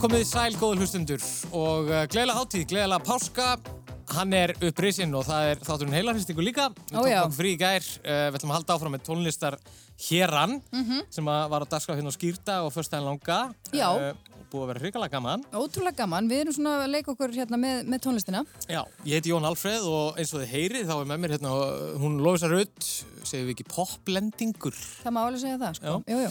komið þið sæl, góður hlustundur og uh, gleðilega hátíð, gleðilega páska Hann er upprisinn og það er þátturinn heilarhristingu líka Við Ó, já. okkur frí í gær, uh, við ætlum að halda áfram með tónlistar Héran sem að var á dagskrá hérna á Skýrta og Förstæðin langa Mhm. Já. Eh, og Búið að vera hrikalega gaman Ótrúlega gaman, við erum svona að leika okkur hérna með, með tónlistina. Já, ég heiti Jón Alfreð og eins og þið heyrið þá er með mér hérna uh, hún Lóisa Rutt, segjum við ekki poplendingur. Það má alveg segja það, sko. Já. Jú, jú.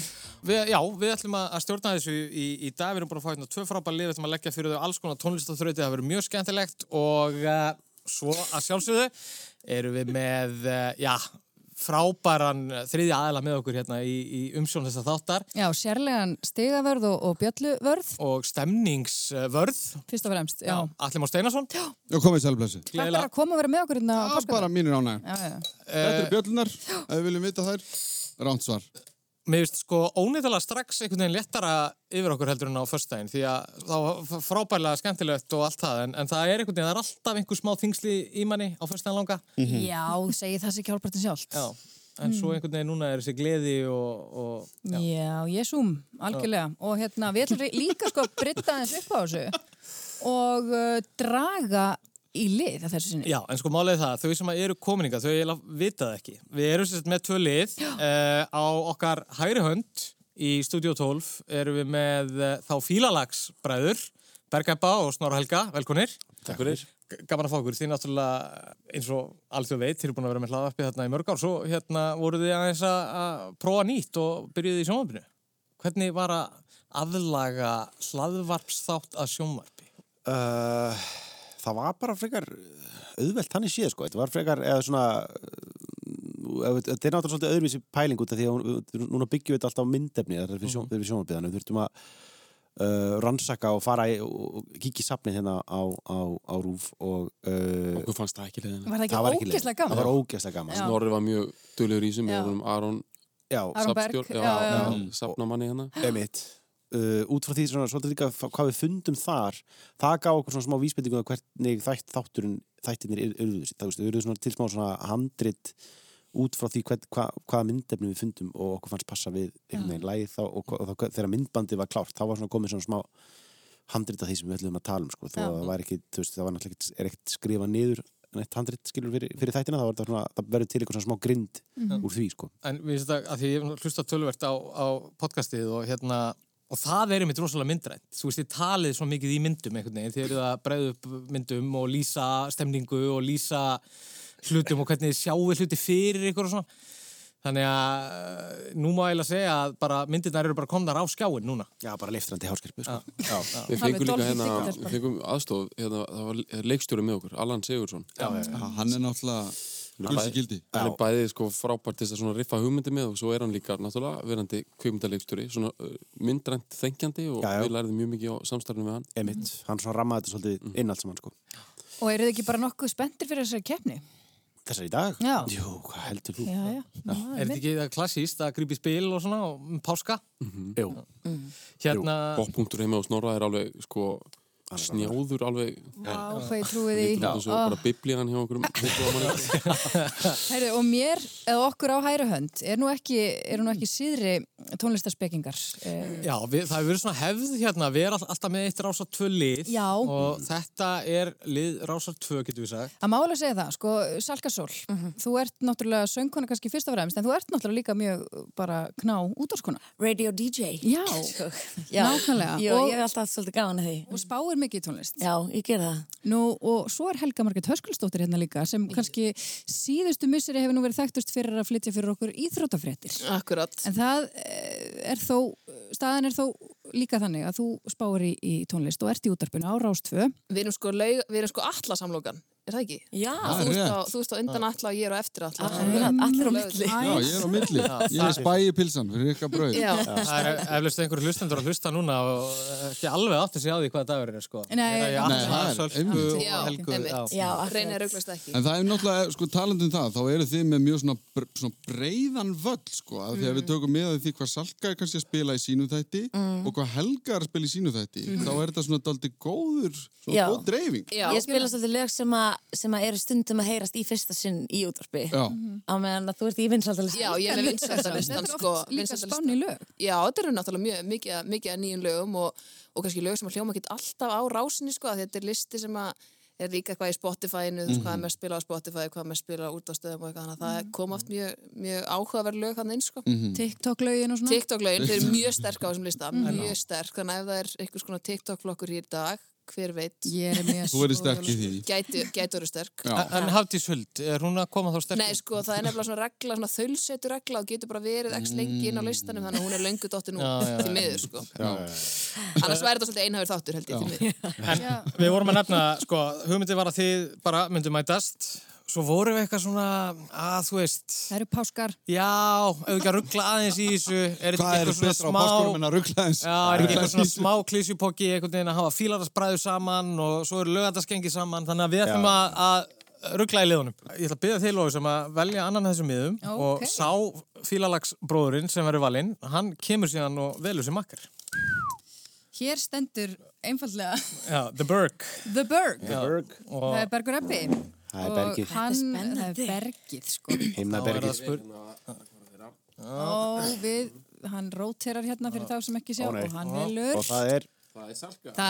Við, já, við ætlum að að stjórna þessu í, í dag, við erum bara að fá hérna tvö frábæð lið, við ætlum að leggja fyrir þau alls konar tónlistaþrauti, það verður mjög skemmtilegt og uh, svo að sjálfsögðu erum við með, uh, já, frábæran eh, þriðja aðila með okkur hérna í, í umsjón þessa þáttar Já, sérlegan stigavörð og, og bjölluvörð, og stemningsvörð, fyrst og fremst. Já. Alli Már Steinarsson. Já, Já, komið sælblessi. Takk fyrir að koma og vera með okkur hérna á Það er páskana. bara mínir ánæg. Já, já. Þetta eru bjöllunar, ef við viljum vita þær. Ránt svar. Mér finnst sko ónýttalega strax einhvern veginn léttara yfir okkur heldur en á föstudaginn því að þá var frábærlega skemmtilegt og allt það en, en það er einhvern veginn, það er alltaf einhver smá þingsli í manni á föstudaginn langa Mhm. já, segi það sér kjálpartin sjálft. Já, en svo einhvern veginn núna er þessi gleði og, og Já, jésúm, algjörlega. Og hérna, við ætlum líka sko að britta aðeins upp á þessu og uh, draga í lið að þessu sinni. Já, en sko málið er það, þau sem eru komininga, þau eiginlega vita það ekki. Við erum sérst með tvö lið uh, á okkar hægri hönd í Studio 12 erum við með uh, þá fílalagsbræður, Bergæpa og Snorra Helga, velkonir. Takk fyrir. Gaman að fá okkur, þið náttúrulega eins og alþjóð veit, þið eru búin að vera með hlaðarpið þarna í mörg ár, svo hérna voruð þið aðeins að að prófa nýtt og byrjuðið í sjónvarpinu. Hvernig var að aðlaga hlaðvarpsþátt að sjónvarpi? Uh, það var bara frekar auðvelt þannig séð sko, þetta var frekar eða svona uh, ef- þetta er náttúrulega svolítið öðruvísi pæling út af því að hún- við- núna byggjum við þetta alltaf á myndefni það er fyrir Mhm. sjón- fyrir sjónarbyðanum, við þurftum að uh, rannsaka og fara í, og, og kíkja í safnið hérna á, á, á rúf og uh, Okkur fannst það ekki leiðin. Var það það var ekki ekki leið. ógeðslega gaman? það var ógeðslega gaman Já. Snorri var mjög dölur í sem við Já. vorum Aron já, Aron Berg, Safnstjórn, já, já, já. Mm. safnamanni hérna. emitt Uh, út frá því svona, svolítið líka f- hvað við fundum þar það gaf okkur svona smá vísbendingu um hvernig þætt, þátturinn, þættirnir ur- urðu það veist, urðu svona til smá svona handrit út frá því hvern, hva, hvaða myndefni við fundum og okkur fannst passa við einhvern veginn lægið þá og, og, og þá- þegar myndbandið var klárt þá var svona komið svona smá handrit af því sem við ætlum að tala um sko, þó Já. að það var ekki, þú veist, það var náttúrulega ekkert- er ekkert skrifað niður neitt handrit skilur fyrir, fyrir þættina, það, svona, það verður til eitthvað svona smá grind úr því sko. en við veist að, að því ég hef hlusta tölvert á, á podcastið og hérna og það er einmitt rosalega myndrænt þú veist þið talið svo mikið í myndum einhvern veginn þið eruð að bregða upp myndum og lýsa stemningu og lýsa hlutum og hvernig þið sjáu hluti fyrir ykkur og svona þannig að eh, nú má ég eiginlega segja að bara myndirnar eru bara komnar á skjáin núna Já, bara leiftrandi háskerpu sko. Við Alveg fengum líka dálítið hérna, þykir við stelpa. fengum aðstof, hérna, það var er leikstjóri með okkur, Allan Sigursson. Ah, Hann er náttúrulega gulsi gildi. Hann er bæðið sko frábært til þess að svona riffa hugmyndi með og svo er hann líka náttúrulega verandi kvikmyndaleikstjóri, svona uh, myndrænt þengjandi og Já, já. við lærðum mjög mikið á samstarfinu með hann. Emitt, hann svona rammaði þetta svolítið inn allt saman sko. Og eru þið ekki bara nokkuð spenntir fyrir þessari keppni? Þessar í dag? Já. Jú, hvað heldur þú? Já, já. Já, er þetta einmitt. ekki það klassíst að grípi spil og svona og um páska Mhm. Jú. Mhm. hérna Poppunktur heima á Snorra er alveg sko snjáður alveg, Vá, hvað ég trúið í. lítur út eins og Ah. bara biblían hjá okkur. um Heyrðu, og mér, eða okkur á hæru hönd, er nú ekki, er nú ekki síðri tónlistarspekingar. Eh, Já, við, það hefur verið svona hefð hérna, við erum all- alltaf með eitt rásar tvö lið Já. og þetta er lið rásar tvö, getur við sagt. Að mála segja það, sko, Salka Sól, Mhm. þú ert náttúrulega söngkona kannski fyrst af ræmst, en þú ert náttúrulega líka mjög uh, bara kná útvarskona. Radio DJ Já, Já. nákvæmlega. Jú, Og- ég hef alltaf svolítið gaman að því og spáir mikið í tónlist. Já, ég ger það Nú, og svo er Helga Margrét Höskuldsdóttir hérna líka, sem kannski síðustu misseri hefur nú verið þekktust fyrir að flytja fyrir okkur íþrótafréttir. Akkurat En það eh, er þó, staðan er þó líka þannig að þú spáir í, í tónlist og ert í útarpinu á Rástfö. Við erum sko, laug, við erum sko allasamlokan, er það ekki? Já, Það Þú er veist á, rétt. þú veist á undan alla og ég er á eftir alla. Akkurat, allir á milli Já, ég er á milli. Ég er spæi pilsan fyrir ykkar brauð. Já, Það er eflust einhverju hlustendur að hlusta núna og ekki alveg átti sig á því hvaða dagur er, sko. Nei, er Nei, það er sölku einmitt. og Já, helgu. einmitt. Já, reynið akkurat er auglast ekki. En það er náttúrulega, sko, talandi um það, þá eru þið með mjög svona, br- svona breiðan völl, sko, að því að við tökum með því hvað Salka er kannski að spila í sínu þætti og hvað Helga er að spila í sínu þætti, þá er þetta svona daldi góður, svona Já. góð dreifing. Já, Ég spila svolítið lög sem að sem að eru stundum að heyrast í fyrsta sinn í útvarpi Já, á meðan að þú ert í vinsaldalist Já, ég er með Þetta vinsældalistan, er sko. oft líka vinsældalistan. spán í lög. Já, þetta eru náttúrulega mjög, mikið, af- mikið að nýjum lögum og, og kannski lög sem að hljóma ekkert alltaf á rásinni, sko, að þetta er listi sem að er líka eitthvað í Spotify-inu, þú veist, Mhm. hvað er mest spila á Spotify, hvað er mest spila út á stöðum og eitthvað, þannig að Mhm. það kom oft mjög, mjög áhugaverð lög hann eins, sko. Mhm. TikTok-lögin og svona. Mhm. TikTok-lögin, þau eru mjög sterk á þessum lista, mjög sterk, þannig að ef það er einhvers konar TikTok-flokkur hér í dag, hver veit, Ég er mjög þú verður sterk í því. gæti, gæti orðu sterk. Já. En, en Hafdís Huld, er hún að koma þá sterkur? Nei, sko, það er nefnilega svona regla, svona þaulsetu regla og getur bara verið x lengi inn á listanum þannig að hún er löngu dottin Já, út já, til miður, sko. Annars væri þetta svolítið einhafur þáttur, held ég, til miður. En við vorum að nefna, sko, hugmyndið var að þið bara myndum mætast, svo vorum við eitthvað svona, að þú veist, Það eru páskar. já, ef við ekki að ruggla aðeins í þessu, er þetta Hvað ekki er eitthvað betra svona á páskunum en smá... að ruggla eins? Já, er ekki eitthvað svona smá klísjupokki, einhvern veginn að hafa fílarasbræðu saman og svo eru lögandaskengi saman, þannig að við ætlum Já. að, að ruggla í liðunum. Ég ætla að byrja þig, Lói, sem að velja annan af þessum miðum Ókei. og sá fílalagsbróðurinn sem verður valinn, hann kemur síðan og velur sem makkar. Hér stendur einfallega Já, The Burke. The Berg. Já, Berg. og- Það er Bergur Eppi. Það er Bergið. Og hann, mm, það Þetta er er spennandi. Bergið, sko. Himna Þá er það Bergið. spurning. Ó, við, hann róterar hérna fyrir þá sem ekki sjá Ó, nei. og hann velur. Og það er Það er Salka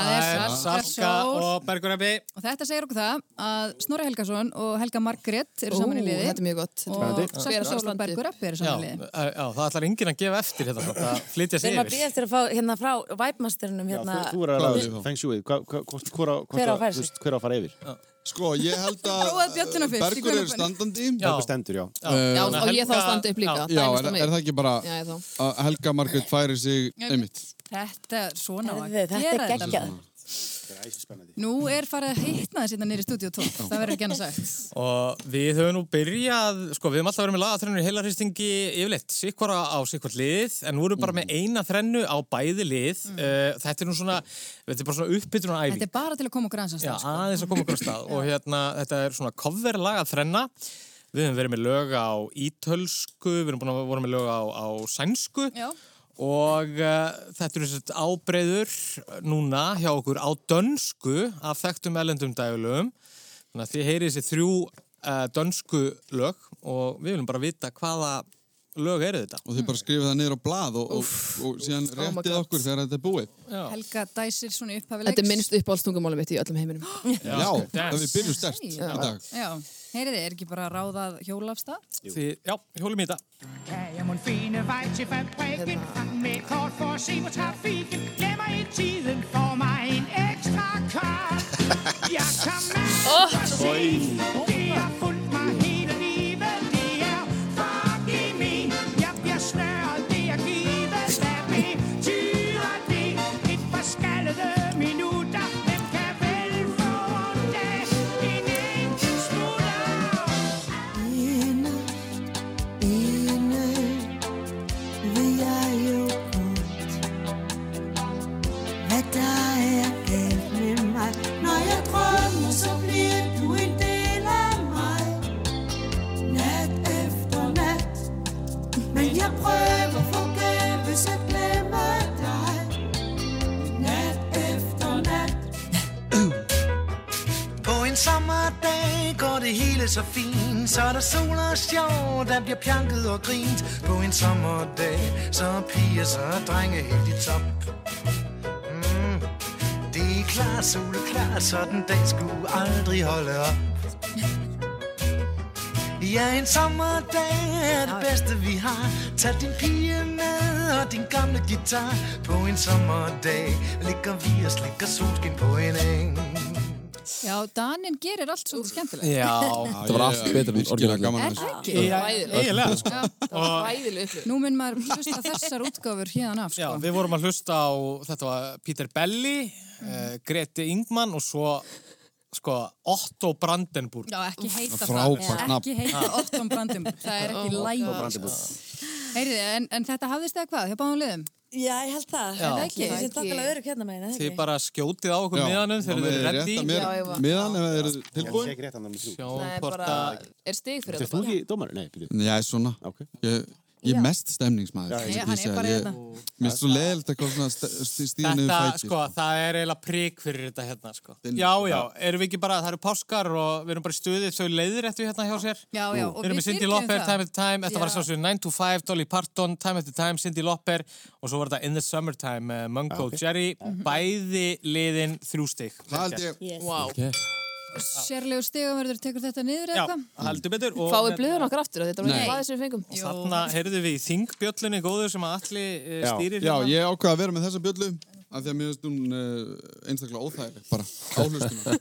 Salka Sól. og Bergur Ebbi Og þetta segir okkur það að Snorri Helgason og Helga Margrét eru saman í liði. þetta er mjög gott. Þetta er og Spennandi. Salka Sól og Spennandi. Bergur Eppi eru já, saman í liði. já, já, það ætlar enginn að gefa eftir hérna, það flytja Við sig erum að býja yfir eftir að fá hérna frá Væpmasterinum Já, hérna þú, þú er að ræða Hvað er þessu það? feng shui Hva- hva- hvort- hvora- hvort Hver á að að- fara þú veist, hver á að fara yfir Sko, ég held að Prófaðu bjölluna fyrst, í Bergur er hverju brunni? standandi. Já. Bergur stendur, já Já, Þannig og að ég þá Helga- að standa upp líka. Já, er, er það ekki bara Já, ég þá. að Helga Margrét færi sig einmitt? Þetta, svona á að Herðu, Þetta gera er geggjað Nú er farið að hitna þess hérna nýri stúdíu 12. Það verður ekki annars sagt. og við höfum nú byrjað sko, við höfum alltaf verið með lagaþrennur í heilarhristingi yfirleitt, sikkvara á sikkvart lið en nú erum við Mm. bara með eina þrennu á bæði lið Mm. uh, þetta er nú svona þetta er bara svona uppbytrunar æfing Þetta er bara til að koma okkur aðeins að Já, stað. sko. aðeins að koma okkur á stað og hérna, þetta er svona coverlag að þrenna við höfum verið með lög á ítölsku við höfum búin að voru með lög á, á sænsku Já. og uh, þetta eru sett ábreyður núna hjá okkur á dönsku af þekktum elendum dægulegum þannig að þið heyrið þessi þrjú uh, dönsku lög og við viljum bara vita hvaða lög eru þetta Og þið bara skrifið það niður á blað og, og, og síðan réttið okkur þegar þetta er búið. Helga dæsir svona upphafilegs. Þetta er minnst uppáhaldstungumálum mitt í öllum heiminum. Já, sko, það við byrjum stert í Já. dag. Já, heyriði, er ekki bara ráðað hjólafstað? Því, já, hjólum í þetta Kan mon finde vej til fabrikken Med et kort for at se på trafikken Glemmer i tiden for mig en ekstra kop Jeg kom med oh, for sent Det har fulgt mig hele livet Det er fucking min Jeg bliver snørret, det er givet Hvad betyder det? Et par skaldede minutter Hvem kan vel få det? En enkelt smutter På en sommerdag går det hele så fint Så er der sol og sjov, der bliver pjanket og grint På en sommerdag, så er piger, så er drenge helt i top mm. Det er klart, soleklar, sådan dag skulle aldrig holde op Ja, en sommerdag er det bedste, vi har. Tag din pige med og din gamle guitar. På en sommerdag ligger vi og slikker solskin på en eng. Já, Danin gerir allt svolítið skemmtilegt. Já, Þetta var allt betra en Virkilega orginal gaman Er að þessu. það ekki? eiginlega sko. Það var hræðileg upplifun. Nú mun maður hlusta þessar útgáfur hérna af, Já, sko. við vorum að hlusta á, þetta var Peter Belli, mm. Greti Ingman og svo, sko, Otto Brandenburg. Já, ekki heita Frábært það. nafn. Ekki heita Otton Brandum. Það er ekki sko. lægi. Heyriði, en, en þetta hafðist eða hvað? Hjá báðum liðum? Já, ég held það Já. Það er ekki Það er Það er ekki. þokkalega örug hérna megin Þið bara skjótið á okkur miðanum þegar þið eru reddi. Mér, Já, ég var- miðan ef þið eru tilbúin. ekki rétt hann Sjáum Nei, hvort bara, að... er stig fyrir Þú þetta. ekki dómar? Nei, byrju Já, svona. Ok. Ég, Ég Já. er mest stemningsmaður. Já, eins og hann ég er segi. bara Ég- hérna. Mér er svo leðilegt eitthvað svona st- st- stíða niður Þetta, fæti. sko, það er eiginlega prík fyrir þetta hérna, sko. Þinn- Já, já, erum við ekki bara, það eru páskar og við erum bara í stuði, þau leiðir eftir hérna hjá sér. Já, já, og Við erum við með Cindy byrjuðum Lopper, það. Time After Time, þetta var Já. svo sem 9 to 5, Dolly Parton, Time After Time, Cindy Lopper og svo var þetta In the Summertime með Mungo Jerry, Mhm. bæði liðin þrjú stig. Ah, Það held ég, Yes. Wow. Sérlegur stigavörður tekur þetta niður Já, eða hvað? heldur betur. og- Fáið blöðun okkar aftur að þetta var Nei. ekki hvað sem við fengum. Og þarna heyrðu við í þingbjöllunni góður sem að Já. allir stýrir hérna. já, ég ákvað að vera með þessa bjöllu af því að mér finnst hún uh, einstaklega óþægileg, bara áhlustunar.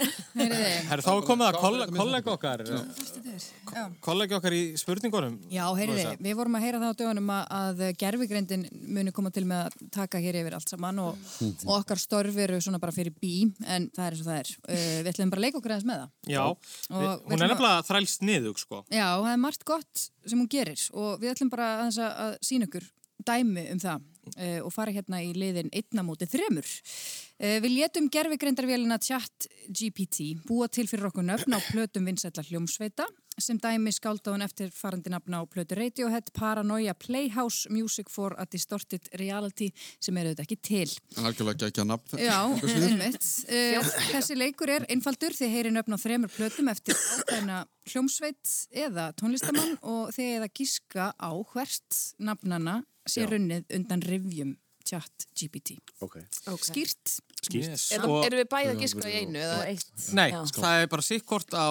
Heyriði, Herra, þá er komið að koll- kollega okkar eh, já. kollega okkar í spurningunum Já, heyriði, við vorum að heyra það á dögunum að, að gerfigreindin muni koma til með að taka hér yfir allt saman og, Mm. og okkar störf eru svona bara fyrir bí en það er eins og það er. Uh, við ætlum bara að leika okkur aðeins með það. Já, við, Og við hún ætlum er að- nefnilega þrælst niðug sko Já, það er margt gott sem hún gerir og við ætlum bara aðeins að, að sína ykkur dæmi um það uh, og fara hérna í liðin einna móti þremur. Uh, við létum gerfigreindarvélina chat GPT búa til fyrir okkur nöfn á plötum vinsætla hljómsveita sem dæmi skálda hún eftir farandi nafna á plötu Radiohead, Paranoia, Playhouse, Music for a Distorted Reality sem eru þetta ekki til. En algjörlega ekki að nafn. Já, einmitt. Uh, þessi leikur er einfaldur þið heyri nöfn á þremur plötum eftir ákveðna hljómsveit eða tónlistamann og þið eða gíska á hvert nafnana sé runnið undan rivjum chat GPT. Ok. Skýrt. Skýrt. yes. Eða og, erum við bæði að giska í einu? Eða, Nei, sko. Já. það er bara sikkort á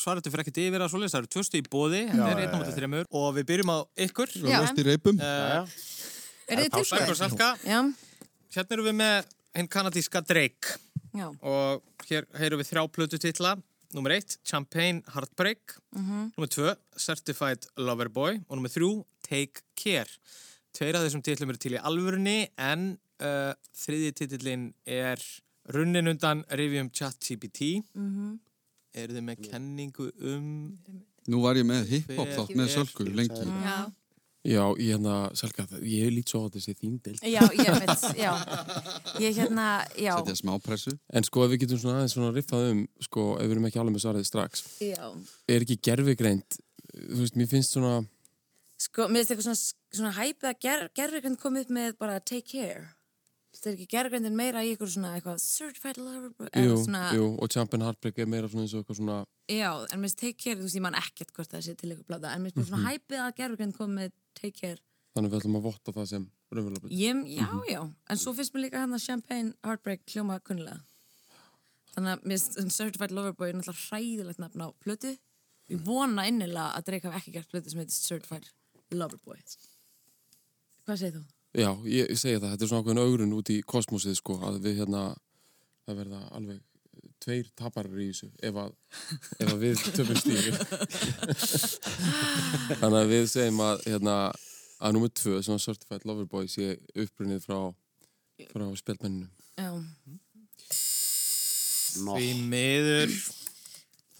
svaretu fyrir ekkert yfir að svoleiðis, það eru tvöstu í bóði en það er einn á mútið þreymur og við byrjum á ykkur Já. Lost í reipum. uh, Er þið Bergur tilbúin? Salka já, Hérna erum við með hinn kanadíska Drake já. og hér heyrum við þrjá plötu titla Númer eitt, Champagne Heartbreak Númer tvö, Certified Lover Boy og númer þrjú, Take Care Tveir af þessum titlum eru til í alvörunni en uh, þriði titillin er runnin undan rifjum chat TBT Eru þið með kenningu um Nú var ég með hip-hop þátt með Hver- sölkur lengi. Já. Já, ég hérna, Selga, ég lít svo á að þessi þín deild. Já, ég veit, já. Ég hérna, já. Þetta er smá pressu. En sko, ef við getum svona aðeins svona riffað um, sko, ef við erum ekki alveg með svarið strax, Já. er ekki gerfigreind, þú veist, mér finnst svona, Sko, mér finnst eitthvað svona, svona hæpið að ger, gerðurgrind kom upp með bara take care. Þetta er ekki gerðurgrindin meira í ykkur svona eitthvað certified lover boy, eða jú, svona, jú, og Champion Heartbreak er meira svona eins og eitthvað svona, já, en mér finnst take care, þú veist, ég man ekkert hvort það sé til ykkur blada, en mér finnst Mhm. svona hæpið að gerðurgrind kom með take care. þannig að við ætlum að votta það sem raunverulega. Ég, já, Mhm. já, en svo finnst mér líka hann að champagne heartbreak hljóma kunnilega. Þannig að mér finnst um, certified lover boy er náttúrulega hræðilegt nafn á plötu. Ég vona innilega að Drake hafi ekki gert plötu sem heitir certified lover boy. Hvað segir þú? Já, ég, ég segi það, þetta er svona ákveðin augrun út í kosmosið, sko, að við hérna, það verða alveg eh, tveir taparar í þessu, ef að, ef að við töfum stílu. Þannig að við segjum að, hérna, að nummer tvö, svona Certified Lover Boy, sé upprunnið frá, frá spjaldmenninu. Já. Nó. því miður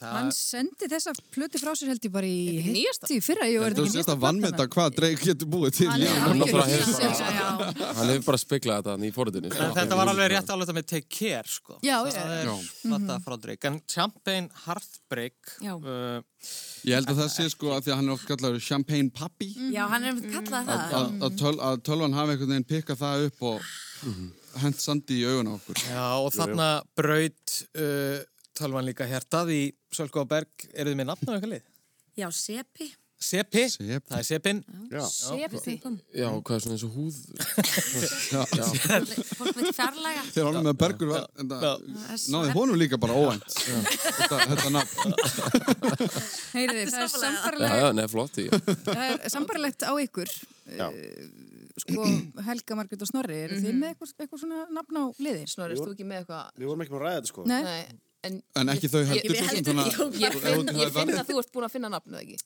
Hann sendi þessa plötu frá sér held ég bara í nýjasta. hitti fyrra. Ég var Þú þetta veist ekki þetta vannmeta hvað Drake getur búið til. Hann Já, er hann algjör bara hefur- nýjasta. Já, Hann hefur bara speklað þetta þannig í forritinu. sko. En þetta var alveg rétt álöta með Take Care sko. Já, það já. er Já. þetta frá Drake en Champagne Heartbreak Já. uh, Ég held að það sé sko að því að hann er oft kallar champagne pappi Já, hann er um að kalla það. Mm. að að töl- að tölvan hafi einhvern veginn pikka það upp og hent sandi í augun á okkur. Já, og þarna braut uh, tölvan líka hértað í Sölko og Berg, eru þið með nafn á eitthvað lið? Já, sepi. Sepi, Sepi. það er Sepin Sepi. Já, hvað er svona eins og húð? Fólk veit fjarlæga. Þegar honum með Bergur var, en það náði honum líka bara óvænt. Þetta, þetta nafn. Heyriði, það er Já, sambarlega já, neða, flott í. Það er sambarlegt á ykkur Já. Eh, sko Helga, Margrét og Snorri eru þið með eitthvað, eitthvað svona nafn á liðir? Mhm. Snorri, erst þú ekki með eitthvað? Við vorum ekki búin að ræða þetta sko. Nei, Nei, en En ekki þau heldur. sko, ég- þannig að- Ég finn, ef- ef- ég ef- finn að þú ert búin að finna nafnið ekki.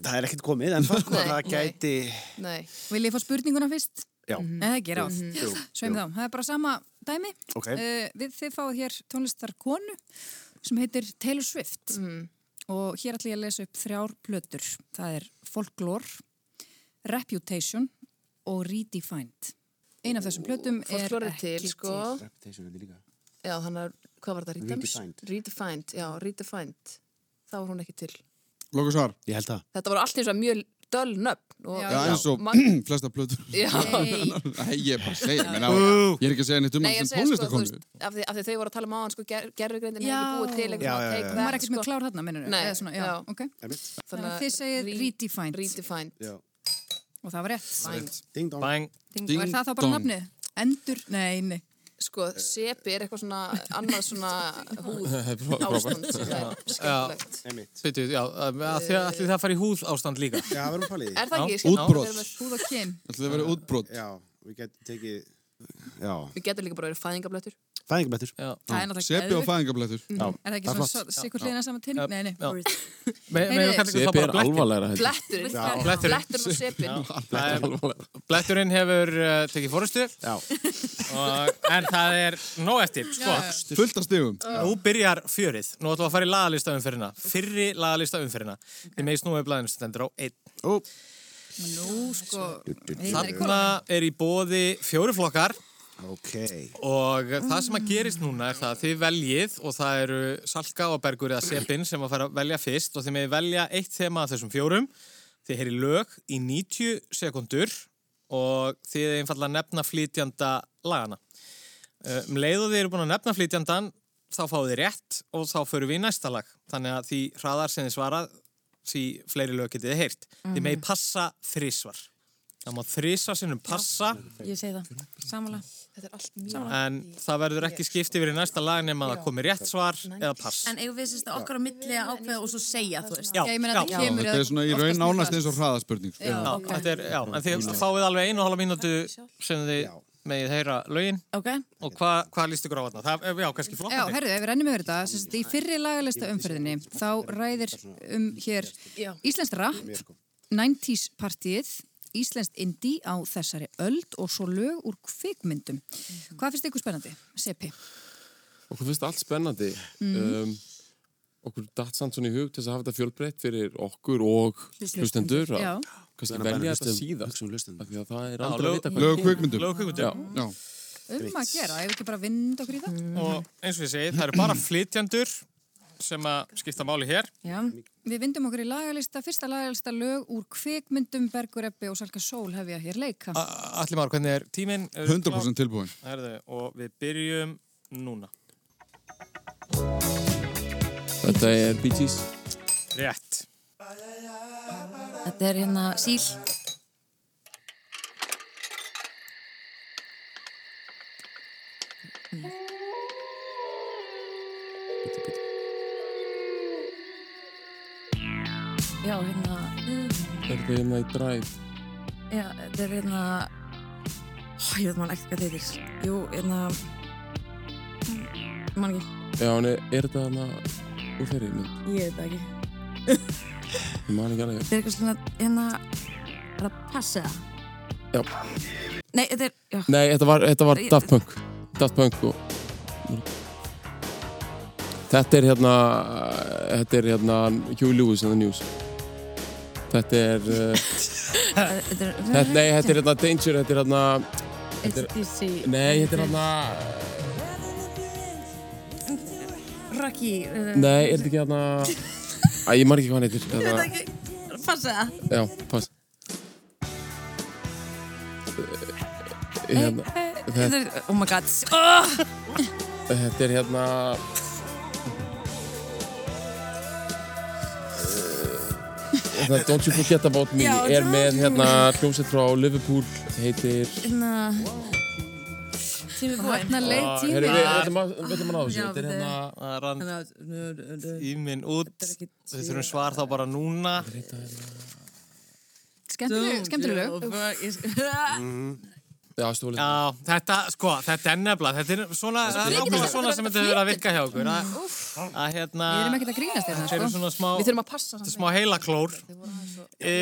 Það er ekkert komið, en það, sko, Nei, það nei. gæti... Nei. Mhm. Vil ég fá spurninguna fyrst? Já. Nei, það er ekki ráð. Jú, Sveim þá, það er bara sama dæmi. Ok. Eh, við þið fáið hér tónlistar konu sem heitir Taylor Swift Mhm. og hér ætlum ég að lesa upp þrjár plötur. Það er Folklore, Reputation og Redefined. Ein af þessum plötum er Fólk lórið ekki til, sko. Reputation er líka. Já, þannig að, hvað var það? Redems? Redefined. Redefined, já, redefined. Þá var hún ekki til. Lókusvar, Ég held það. Þetta voru allt eins og mjög döl nöfn og, Já, Já, eins og man- flesta plötur. Já. Nei, ég er bara að segja, menn á, ég er ekki að segja neitt um Nei, ég hann sem segja sko, þú veist, tónlistakonu. af því, af því þau voru að tala um áðan, sko, ger, gerfugreindin hefði Já. ekki búið til eitthvað Já, svona já, já, take já. Hún var that, sko. ekkert með klár þarna, minnur Nei, svona, já, já. ok. Einmitt. Þannig að þið segir re- redefined redefined. og það var rétt. Fine. Ding dong. Bang. Og er það þá bara nafnið? Endur? Nei, nei. Sko, sepi er eitthvað svona annað svona húð Það er frá- ástand frábært. sem er skemmtilegt. Einmitt. Sveitu, já, að að því að ætli það fari í húð ástand líka. Já, verðum að pæla í því. Er það ekki? Já. skemmtilegt? Útbrot. Við erum með- Húð og kyn. Ætli það verið útbrot. Já, við getum tekið... Já. Við getum líka bara verið fæðingablöttur. Fæðingablettur. Já. Það er náttúrulega Seppi og geðveikt. Mhm. fæðingablettur. Já, Er það ekki flott. svona sikur hlýðina saman til? Nei, nei. Já. Me, Heyrðu, meðum kannski það Sepi er bara blettur. alvarlegra heldur. Bletturinn. Já. Bletturinn. Bletturinn og sepin. Það er- Bletturinn hefur uh, tekið fórustu, Já. og, en það er nóg eftir, sko. Fullt af stigum. Nú byrjar fjörið. Nú ætlum við að fara í lagalista umferðina. Fyrri lagalista umferðina. Þið með snúið blæðinu sem stendur á einn. Ó, Nú, sko, heitar í Þarna kóla. er í bóði fjóruflokkar ok. og það sem að gerist núna er það að þið veljið og það eru Salka og Bergur eða Sepin sem að fara að velja fyrst og þið með velja eitt þema af þessum fjórum. Þið heyri lög í 90 sekundur og þið einfallega nefna flytjanda lagana. Eh, Um leið og þið eru búin að nefna flytjandan þá fáið þið rétt og þá förum við í næsta lag. Þannig að því hraðar sem þið svarað því fleiri lög getið þið heyrt. Mhm. Þið megi passa þrísvar. Það má þrísvar sinnum passa Ég segi það, samanlega Þetta er allt mjög. en það verður ekki skipt yfir í næsta lag nema að það komi rétt svar eða pass. En eigum við sérst að okkar á milli að ákveða og svo segja, þú veist Já, Ég meina já. þetta kemur Þetta er svona í raun nánast eins og hraðaspurning. sko. Já, þetta er, já, en þið fáið alveg einu og halva mínútu sem þið megið heyra lögin Ok, og hvað hva líst ykkur á þarna? Það, eh, já, kannski flott. Já, herðu, ef við rennum yfir þetta, sem sagt, í fyrri lagalista umferðinni, þá ræðir um hér Já. Íslenskt rap, 90s partíið, Íslenskt indie á þessari öld og svo lög úr kvikmyndum. Mhm. Hvað finnst ykkur spennandi, Seppi? Okkur finnst allt spennandi. Um, okkur datt samt svona í hug til þess að hafa þetta fjölbreytt fyrir okkur og hlustendur. Hlustendur, að já. Kannski velja þetta síðast. Hugsa um lustum. af Því að það er Já, aldrei lög- að vita Lög hvað. og kvikmyndum. Lög og kvikmyndir. Já. Já. Um að gera, ef við ekki bara vind okkur í það? Mm. Og eins og ég segi, það eru bara flytjandur sem að skipta máli hér. já, Við vindum okkur í lagalista, fyrsta lagalista lög úr kvikmyndum Bergur Ebbi og Salka Sól hefja hér leika. A- Atli Már, hvernig er tíminn? Er 100% tilbúin. Herðu, og við byrjum núna. Þetta er Bee Gees. Rétt. þetta er hérna síl Já, hérna Er þetta hérna í Drive? Já, þetta er hérna Ó, Ég veit maður ekkert hvað þetta heitir Jú, hérna Man ekki, Já, en er, er þetta hérna úr þeirri mynd? ég veit það ekki Þetta Ég man ekki alveg. er eitthvað svona, hérna Er það passa? Já. Nei, þetta er, já Nei, þetta var, þetta var Ég- Daft Punk. Daft Punk og... Þetta er hérna, þetta er hérna Huey Lewis and the News. Þetta er, uh, Þetta er þetta, nei, þetta er hérna Danger, þetta er hérna, It's easy nei, þetta er hérna, Rocky uh, nei, er þetta ekki hérna, að ég man ekki hvað hann heitir. Þetta Hérna, er ekki Passa já, pass. Eh, Hérna, Þetta er, oh my god oh! Þetta er hérna Eh. Hérna, Don't You Forget About Me Já, er don't með you- hérna hljómsveit frá Liverpool heitir Hérna Tími búinn Þarna leið Og- tími. Ah, Heyrðu, við ætlum að við ætlum að ná þessu Já, Þetta er við- hérna Það rann Tími tíminn út. Við þurfum svar þá bara núna. hérna- Skemmtileg, skemmtileg lög. lög Já, stólið Já, þetta, sko, þetta er nefnilega, þetta er svona, Sko, það er nákvæmlega svona sem þetta hefur verið að virka hjá Mm. okkur, að, að hérna, Við erum ekkert að grínast þetta þérna, eru sko. svona smá, Við þurfum að passa samt. smá heilaklór. E,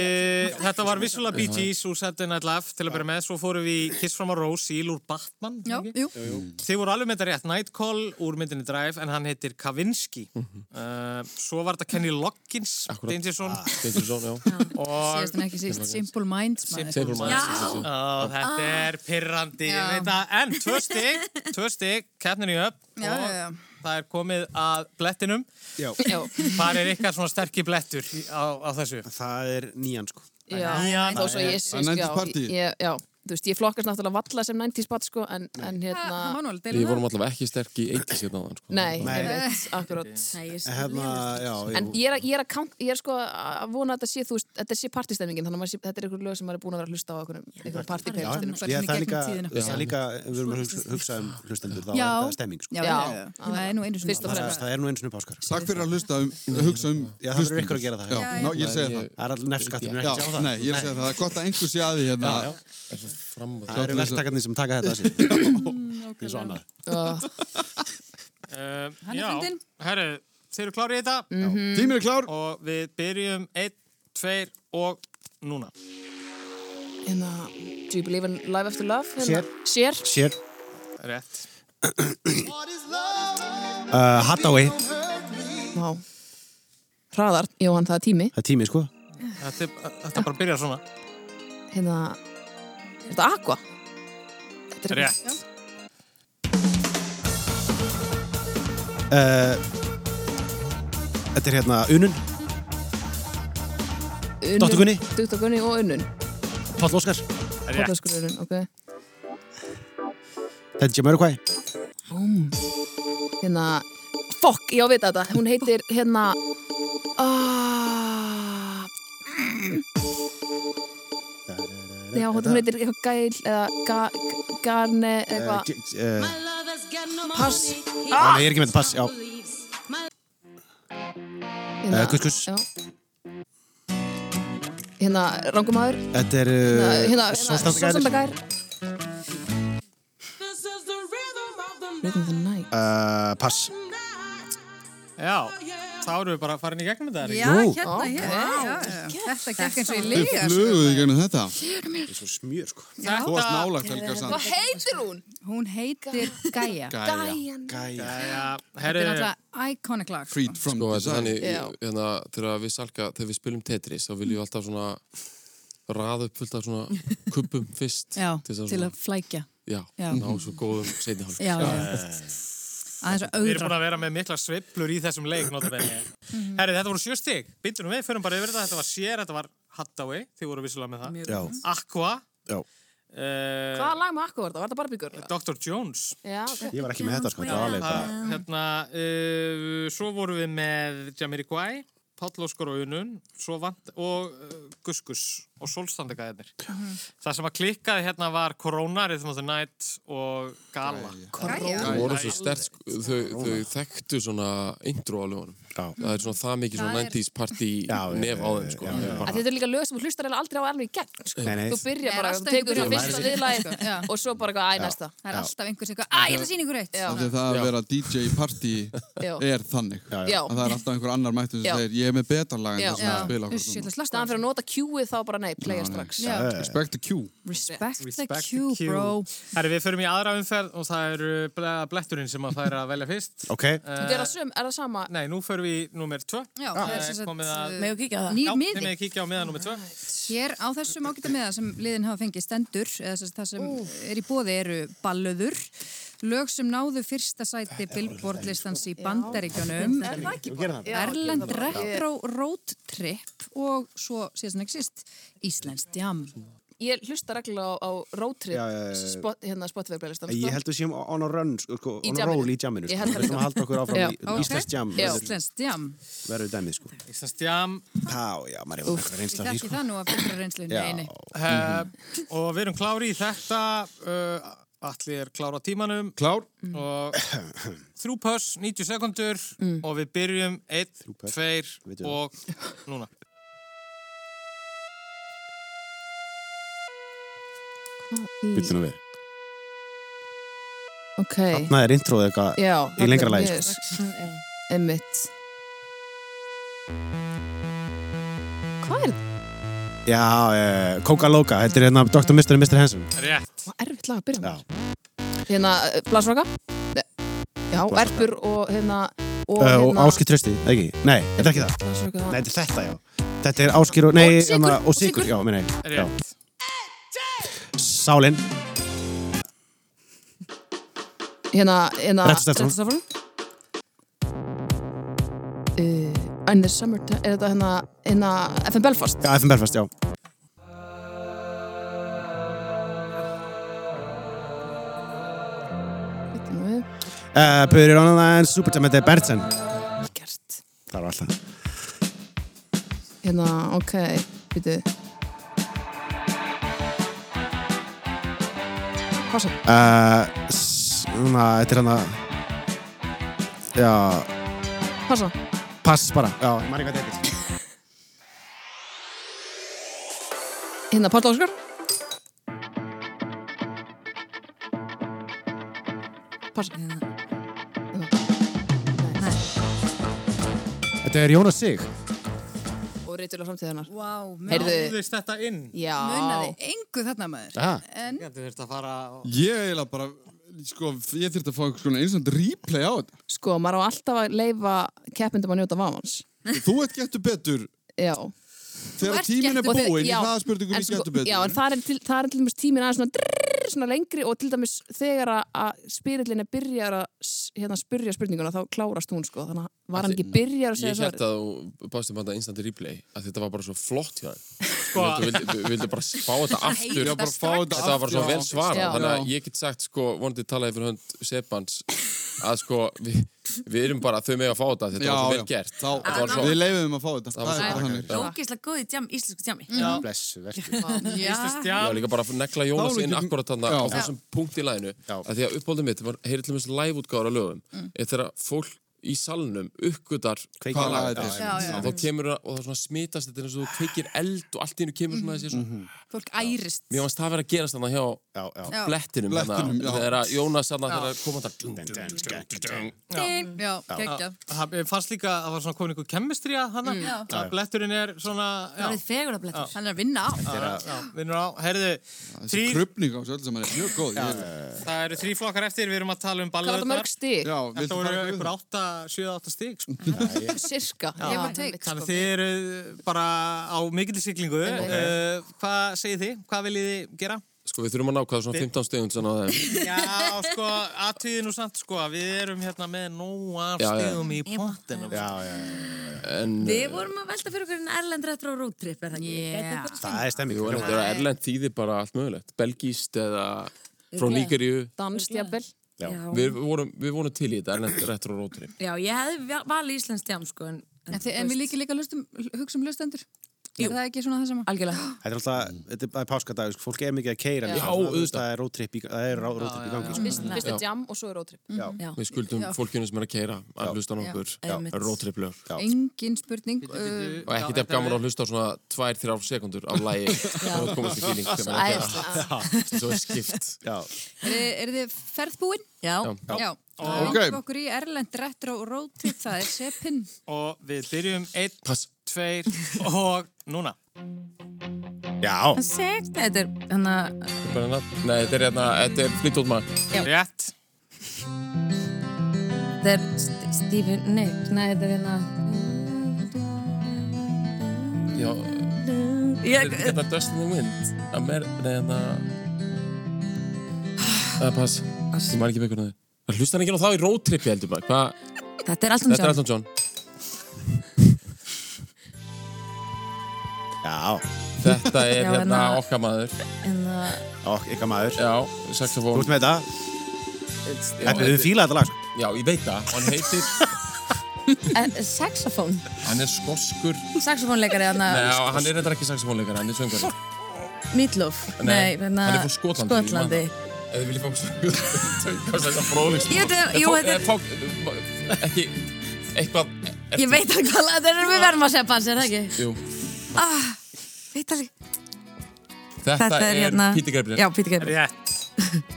þetta var vissulega Bee Gees úr Saturday Night Live til að byrja með, svo fórum við í Kiss from a Rose í úr Batman. Já, ekki? jú. Þið voru alveg með þetta rétt, Nightcall úr myndinni Drive, en hann heitir Kavinsky. Uh, svo var þetta Kenny Loggins, Akkúrat. Dangerson, Þetta er svona, já og Síðast en ekki síst, Simple Minds. maður. Save for Já. my Ó, þetta er pirrandi, ég Ah. Já. veit að, en tvö stig, tvö stig, keppnin í upp Já, og já, já. það er komið að blettinum. Já. Hvað er ykkar svona sterkir blettur í- á, á þessu? Það er nýjan, sko. Já, þó svo ég Það er 90s party. já, ég, já, þú veist, ég flokkast náttúrulega valla sem 90s party, sko, en, en Það hérna, má nú alveg Við deila vorum það. allavega ekki sterk í 80s hérna áðan, sko. nei, Nei. einmitt, akkurát. Nei, ég skil Hérna, já, En jú. ég er, að- ég, er að count, ég er sko að vona að þetta sé, þú veist, þetta sé partystemningin, þannig að maður sé, þetta er einhver lög sem maður er búin að vera að hlusta á einhverjum, einhverjum Já, partypeinstum. Bara ég, það er svona í líka, gegnum tíðina. það er líka, við erum að hugsa, hugsa um hlustendur, þá er Já. þetta stemming, sko. Já, já, já. það er nú einu sinni. Fyrst og Það, fremst. það er nú einu sinni páskar. Takk fyrir að hlusta um, hugsa um Já, það verður ykkur að gera það. Já, Já. ná, ég segi það Það er allir nefnskattur, við erum ekki að sjá Já, það. nei, ég segi það, það er gott að einhver sé að því hérna Er það fram og Það það? eru verktakarnir sem taka þetta að sér. Eins og annað. Uh, Hann er já, fundinn. herru, þeir eru klárið í þetta Mhm. Tíminn er klár og við byrjum 1, 2 og núna. Hérna, Do You Believe in Live After Love? Hérna, Sér. Sér, Sér. Rétt. uh, Hathaway, Vá. Hraðar, Jóhann, það er tími. það er tími, sko. Þetta, er- þetta bara byrjar svona. Hérna, er þetta Aqua? Þetta er- Rétt. Uh, þetta er hérna Unun, Unnun- Dr. Gunni. Dr. Gunni og Unnun. Páll Óskar, Rétt. Potaskur Unnun, ok. þetta er Jamiroquai. Hérna, fokk, ég á að vita þetta. Hún heitir, hérna, ah, aaaah. Já, hún heitir eitthvað gæl eða ga, Eh, garne Uh, eitthvað. uh, Pass. ah! Nei, ég er ekki með þetta pass, já. Hérna, eh, kuss, kuss. já. Hérna, rangumæður. Þetta er Hérna, hérna, uh, sósanda Sósandagær. gær. Rhythm of the night. Uh, pass. Já, þá erum við bara farin í gegnum þetta. Já, Nú. hérna, ég, já, já. Þetta gekk eins og ég Þið liga. fluguðu í gegnum þetta Það er svo smjör, sko. Þú varst nálægt helga sann Hvað heitir hún? hérna. Hún heitir Gaia. Gæjan. Gæja. Jæja, Þetta er herru, náttúrulega iconic lag. sko. Freed from Sko, þetta er desire þannig, Já. hérna, þegar við salka, þegar við spilum Tetris, þá viljum við alltaf svona raða upp fullt af svona kubbum fyrst. Já, þess til að flækja. Já, Já. ná svo góðum seinni hálf. Já, já. Aðeins að við erum búin auðra. að vera með mikla sveiflur í þessum leik, notabenni. Mhm. Herru, þetta voru sjö stig. Býtum við, förum bara yfir þetta. Þetta var sér, þetta var Hathaway, þið voru vissulega með það. Já, Aqua. já. Uh, Hvaða lag með Aqua var það? Var það Barbie Girl? Dr. Jones. Já, ok. Ég var ekki með þetta, sko. Þetta var alveg bara... Það, hérna, uh, svo vorum við með Jamiroquai, Páll Óskar og Unun, svo vant og uh, Gus Gus og Solstandegæðinir. Það sem að klikkaði hérna var Corona, Rhythm of the Night og Gala. Gaia. Þau voru svo stert, sko, þau, þau þekktu svona intro á lögunum. Það er svona það mikið svona 90s party Já, já, nef á þeim, sko. Að Þetta er líka lög sem þú hlustar eiginlega aldrei á alveg í gegn. sko. Nei, nei. Þú byrja bara, alltaf þú tekur það einhver- fyrsta viðlagi Já. og svo bara eitthvað æ, næsta. Það er alltaf einhvers eitthvað, að ég ætla að sína ykkur eitt. Já. Af því að það að vera DJ party Já. er þannig Já. Að það er alltaf einhver annar mættur Já. sem segir Ég er með betra lag en Já. það sem Já. það spila okkur Uss, ég ætla að slasta Staðan fyrir að nota Q-ið þá bara nei, playa strax. Já. Respect the Q Respect, the Respect Q, the Q. bro. Herri, við förum í aðra umferð og það eru ble- bletturinn sem að færa að velja fyrst. Eh, Ok, Þetta Eh. er það sum, er það sama? Nei, nú förum við í nummer 2. Já, það er sem komið að- sagt eh, Megum við kíkja á það? nýr Já, þeim miði er kíkja á miðan nummer 2. hér á þessum ágæta miða sem liðin hafa fengið stendur eða sem, sagt það sem er í bóði eru ballöður lög sem náðu fyrsta sæti Billboard listans í bandaríkjónum við gerum það. Erlend Retro Road Trip og svo síðan ekki síst Íslensk Jam Ég hlusta reglulega á, á Rótrip, Já, já, já, já. spot, hérna Spotify-playlistan. Eh. Ég held við séum on a run, sko, Í on a jamminu. roll í jamminu, Ég sko. held það Við ætlum að halda okkur Já. áfram í Ok. Íslands jam, Já. verður- Íslensk Jam verður dæmið, sko. Íslands Jam. Já, já, maður hefur eitthvað reynsla af því, Þekki sko. það nú að byrja reynslu Já, Neini, Uh, og við erum klári í þetta. Uh, Allir er klára tímanum. Mhm. Klár og þrjú pöss, 90 sekundur Mm. og við byrjum 1, pöss. 2 Vitum við. og núna býttu nú við. Ok, Þarna er introð eitthvað já. í lengra lagi, sko. sko. Emmitt. Hvað er þetta? Já, uh, Coca Loca, þetta er hérna Dr. Mr. and Mr. Handsome. rétt, Hvað erfitt lag að byrja Já, með? Hérna, Blasroka? Já, Erpur og hérna... Og, uh, og hérna, Áskir Trösti, eða ekki? Nei, þetta er ekki það. Blasroka. Nei, þetta er þetta, já. Þetta er Áskir og, nei, Og Sykur, hérna, og og Sigur, Sykur. já, minni, já. rétt. Sálin, Hérna, hérna... Rettstafrún. Rettstafrún. Uh, in the summertime, er þetta hérna, hérna, FM Belfast? já, FM Belfast, já. Nú, Uh, put it on the line, supertime þetta er Bertsen. vel gert. Það var alltaf. Hérna, ok, býtu. Pása. Uh, s- Svona, þetta er hann að... Já, Pása. pass bara. Já, ég maður eitthvað þetta er. Hérna, Páll Óskar. Pása. Þetta er Jónas Sig. Og reytilega framtíðanar. Vá, wow, Heyrðu, Náðist þetta inn? já. munaði engu þarna maður. Aha. En Þú þurft að fara... Ég eiginlega bara, sko, ég þurfti að fá einhvers konar einsand replay á þetta. Sko, maður á alltaf að leifa keppindum að njóta vafans. Þú ert gettu betur Já. þegar ert tíminn er Gettu Og þeir- búinn í já, hraðaspurningum en í sko- gettu betur. Já, en það er til, það er til dæmis tíminn aðeins svona, drrrr, svona lengri og til dæmis þegar að- að spyrillin er byrjar að s- hérna, spyrja spurninguna þá klárast hún sko, þannig að var hann ekki byrjar að segja Ég held svarið. að þú báðst um þetta instant replay að þetta var bara svo flott hjá þeim Sko, Þú vildi- Við við vildum bara fá þetta aftur Já, bara fá þetta Þetta var bara svo aftur. vel svarað Já. Þannig að ég get sagt sko, vonandi talaði fyrir hönd Sebans að sko, við, við erum bara þau með að fá þetta Þetta Já, var svo já. vel gert Þá, Þetta var Við svo, leifum að fá þetta. Það var svo Það er bara þakkarlegt. þannig. Ógeðslega góð í djam, íslensku djammi. Mhm. Blessu, verður. Já. ég var já, líka bara að negla Jónas Þá inn líka- akkurat þarna Já. á þessum punkt í læginu að því að uppbóldum mitt var heyrið til mér live útgáður á lögum er þegar fólk í salnum uppgötar Hvað lag lag þetta þetta já, er? er. já. og þá kemur það og það svona smitast þetta er eins og þú kveikir eld og allt í hennu kemur svona þessi svona fólk ærist. Mér fannst það vera að gerast þannig hjá Já, já. Já. blettinum, Blettinum, þarna, já. þegar að Jónas þarna þegar kom þetta Mm. Já, geggja. það mér fannst líka að það var svona komin einhver kemistría hana. Mm. Já. Að bletturinn er svona... Það Já, er fegurablettur. Hann er að vinna á. já, vinnur á. Herðu, Þessi þrýr... krupning á þessu öll sem er mjög góð. Ég- Það eru þrý flokkar eftir, við erum að tala um Hvað var þetta ballaröðnar. mörg stig? Já, viltu Þetta voru fara einhver eitthvað? 8, 7, 8 stík. Sko. Sirka. Ég var Já. teik. Þannig sko. þið eru bara á mikill siglingu. Uh, hvað segir þið? Hvað viljið þið gera? Sko við þurfum að nákvæða svona 15 stegund svona á þeim Já, sko, aðtöðið nú samt, sko, að við erum hérna með nóg af Já, já. stegum í pontinum. Já, já, já. En eh, Við vorum að velta fyrir okkur en erlend retro road trip, er það ekki? Yeah. Gæti eitthvað- Það er stemming. jú, en þetta er að Erlend þýðir bara allt mögulegt Belgíst eða frá Nígeríu Danst, jafnvel. Já. Við vorum, við vorum til í þetta Erlend retro rótri Já, ég hefði valið íslensk djam, sko, en... En, þið, en við líka líka hlustum, hugsa um hlustendur. Er það ekki svona það sama? Algjörlega. Þetta er alltaf, þetta er- það er páskadag, sko, fólk er mikið að keira. Já, auðvitað. Það er rótripp í, það er rótripp í gangi, sko. Fyrst fyrst er jam og svo er rótrip. Mm. Já. Við skuldum fólkinu sem er að keira að hlusta á okkur einmitt. rótriplög Engin spurning. Uh, Og ekki þetta gaman að hlusta á svona 2-3 sekundur af lægi og komast í fíling sem er að gera Svo er skipt Já. er, er þið ferðbúin? Já. Já. Já. Það Ok. er okkur í Erlend retro road trip, það er Seppin. Og við byrjum 1, Pass 2 og núna. Já. Segt, þetta er, hann að... Bara hérna- Nei, þetta er hérna, þetta er flýtt út maður Rétt. Þetta er St- Stephen Nick, nei þetta er hérna Já, þetta Ég, er hérna Dust in the Wind Amer, nei hérna Það pass, ég maður ekki byggur það Það hlusta hann ekki á þá í rótripi heldur maður Hvað, Þetta er alltaf þetta um er sjálf Elton John Já. Þetta er Já, hérna hérna- okkar maður hérna, Ok, ykkar maður. Já, Þú saxofón ert með þetta? Já, Þetta, þau fíla þetta lag, sko. Já, ég veit það, hann heitir eh, Saxofón Hann er skoskur Saxofónleikari Nei, hérna, hann er reyndar ekki saxofónleikari, hann er söngari Meatloaf Nei, Nei, hérna, hann er frá Skotlandi, ég man Skotlandi Ef þið viljið fá söngari þess að fróðleikst Ég veit að- jú, þetta er- er Ekki, eitthvað er- Ég veit að hvað, þetta er við verðum að segja bansi, er það ekki? Ah, Jú, Veit alveg þetta, Þetta er hérna Píti Greiflin Já, Píti Gerbrin Rétt.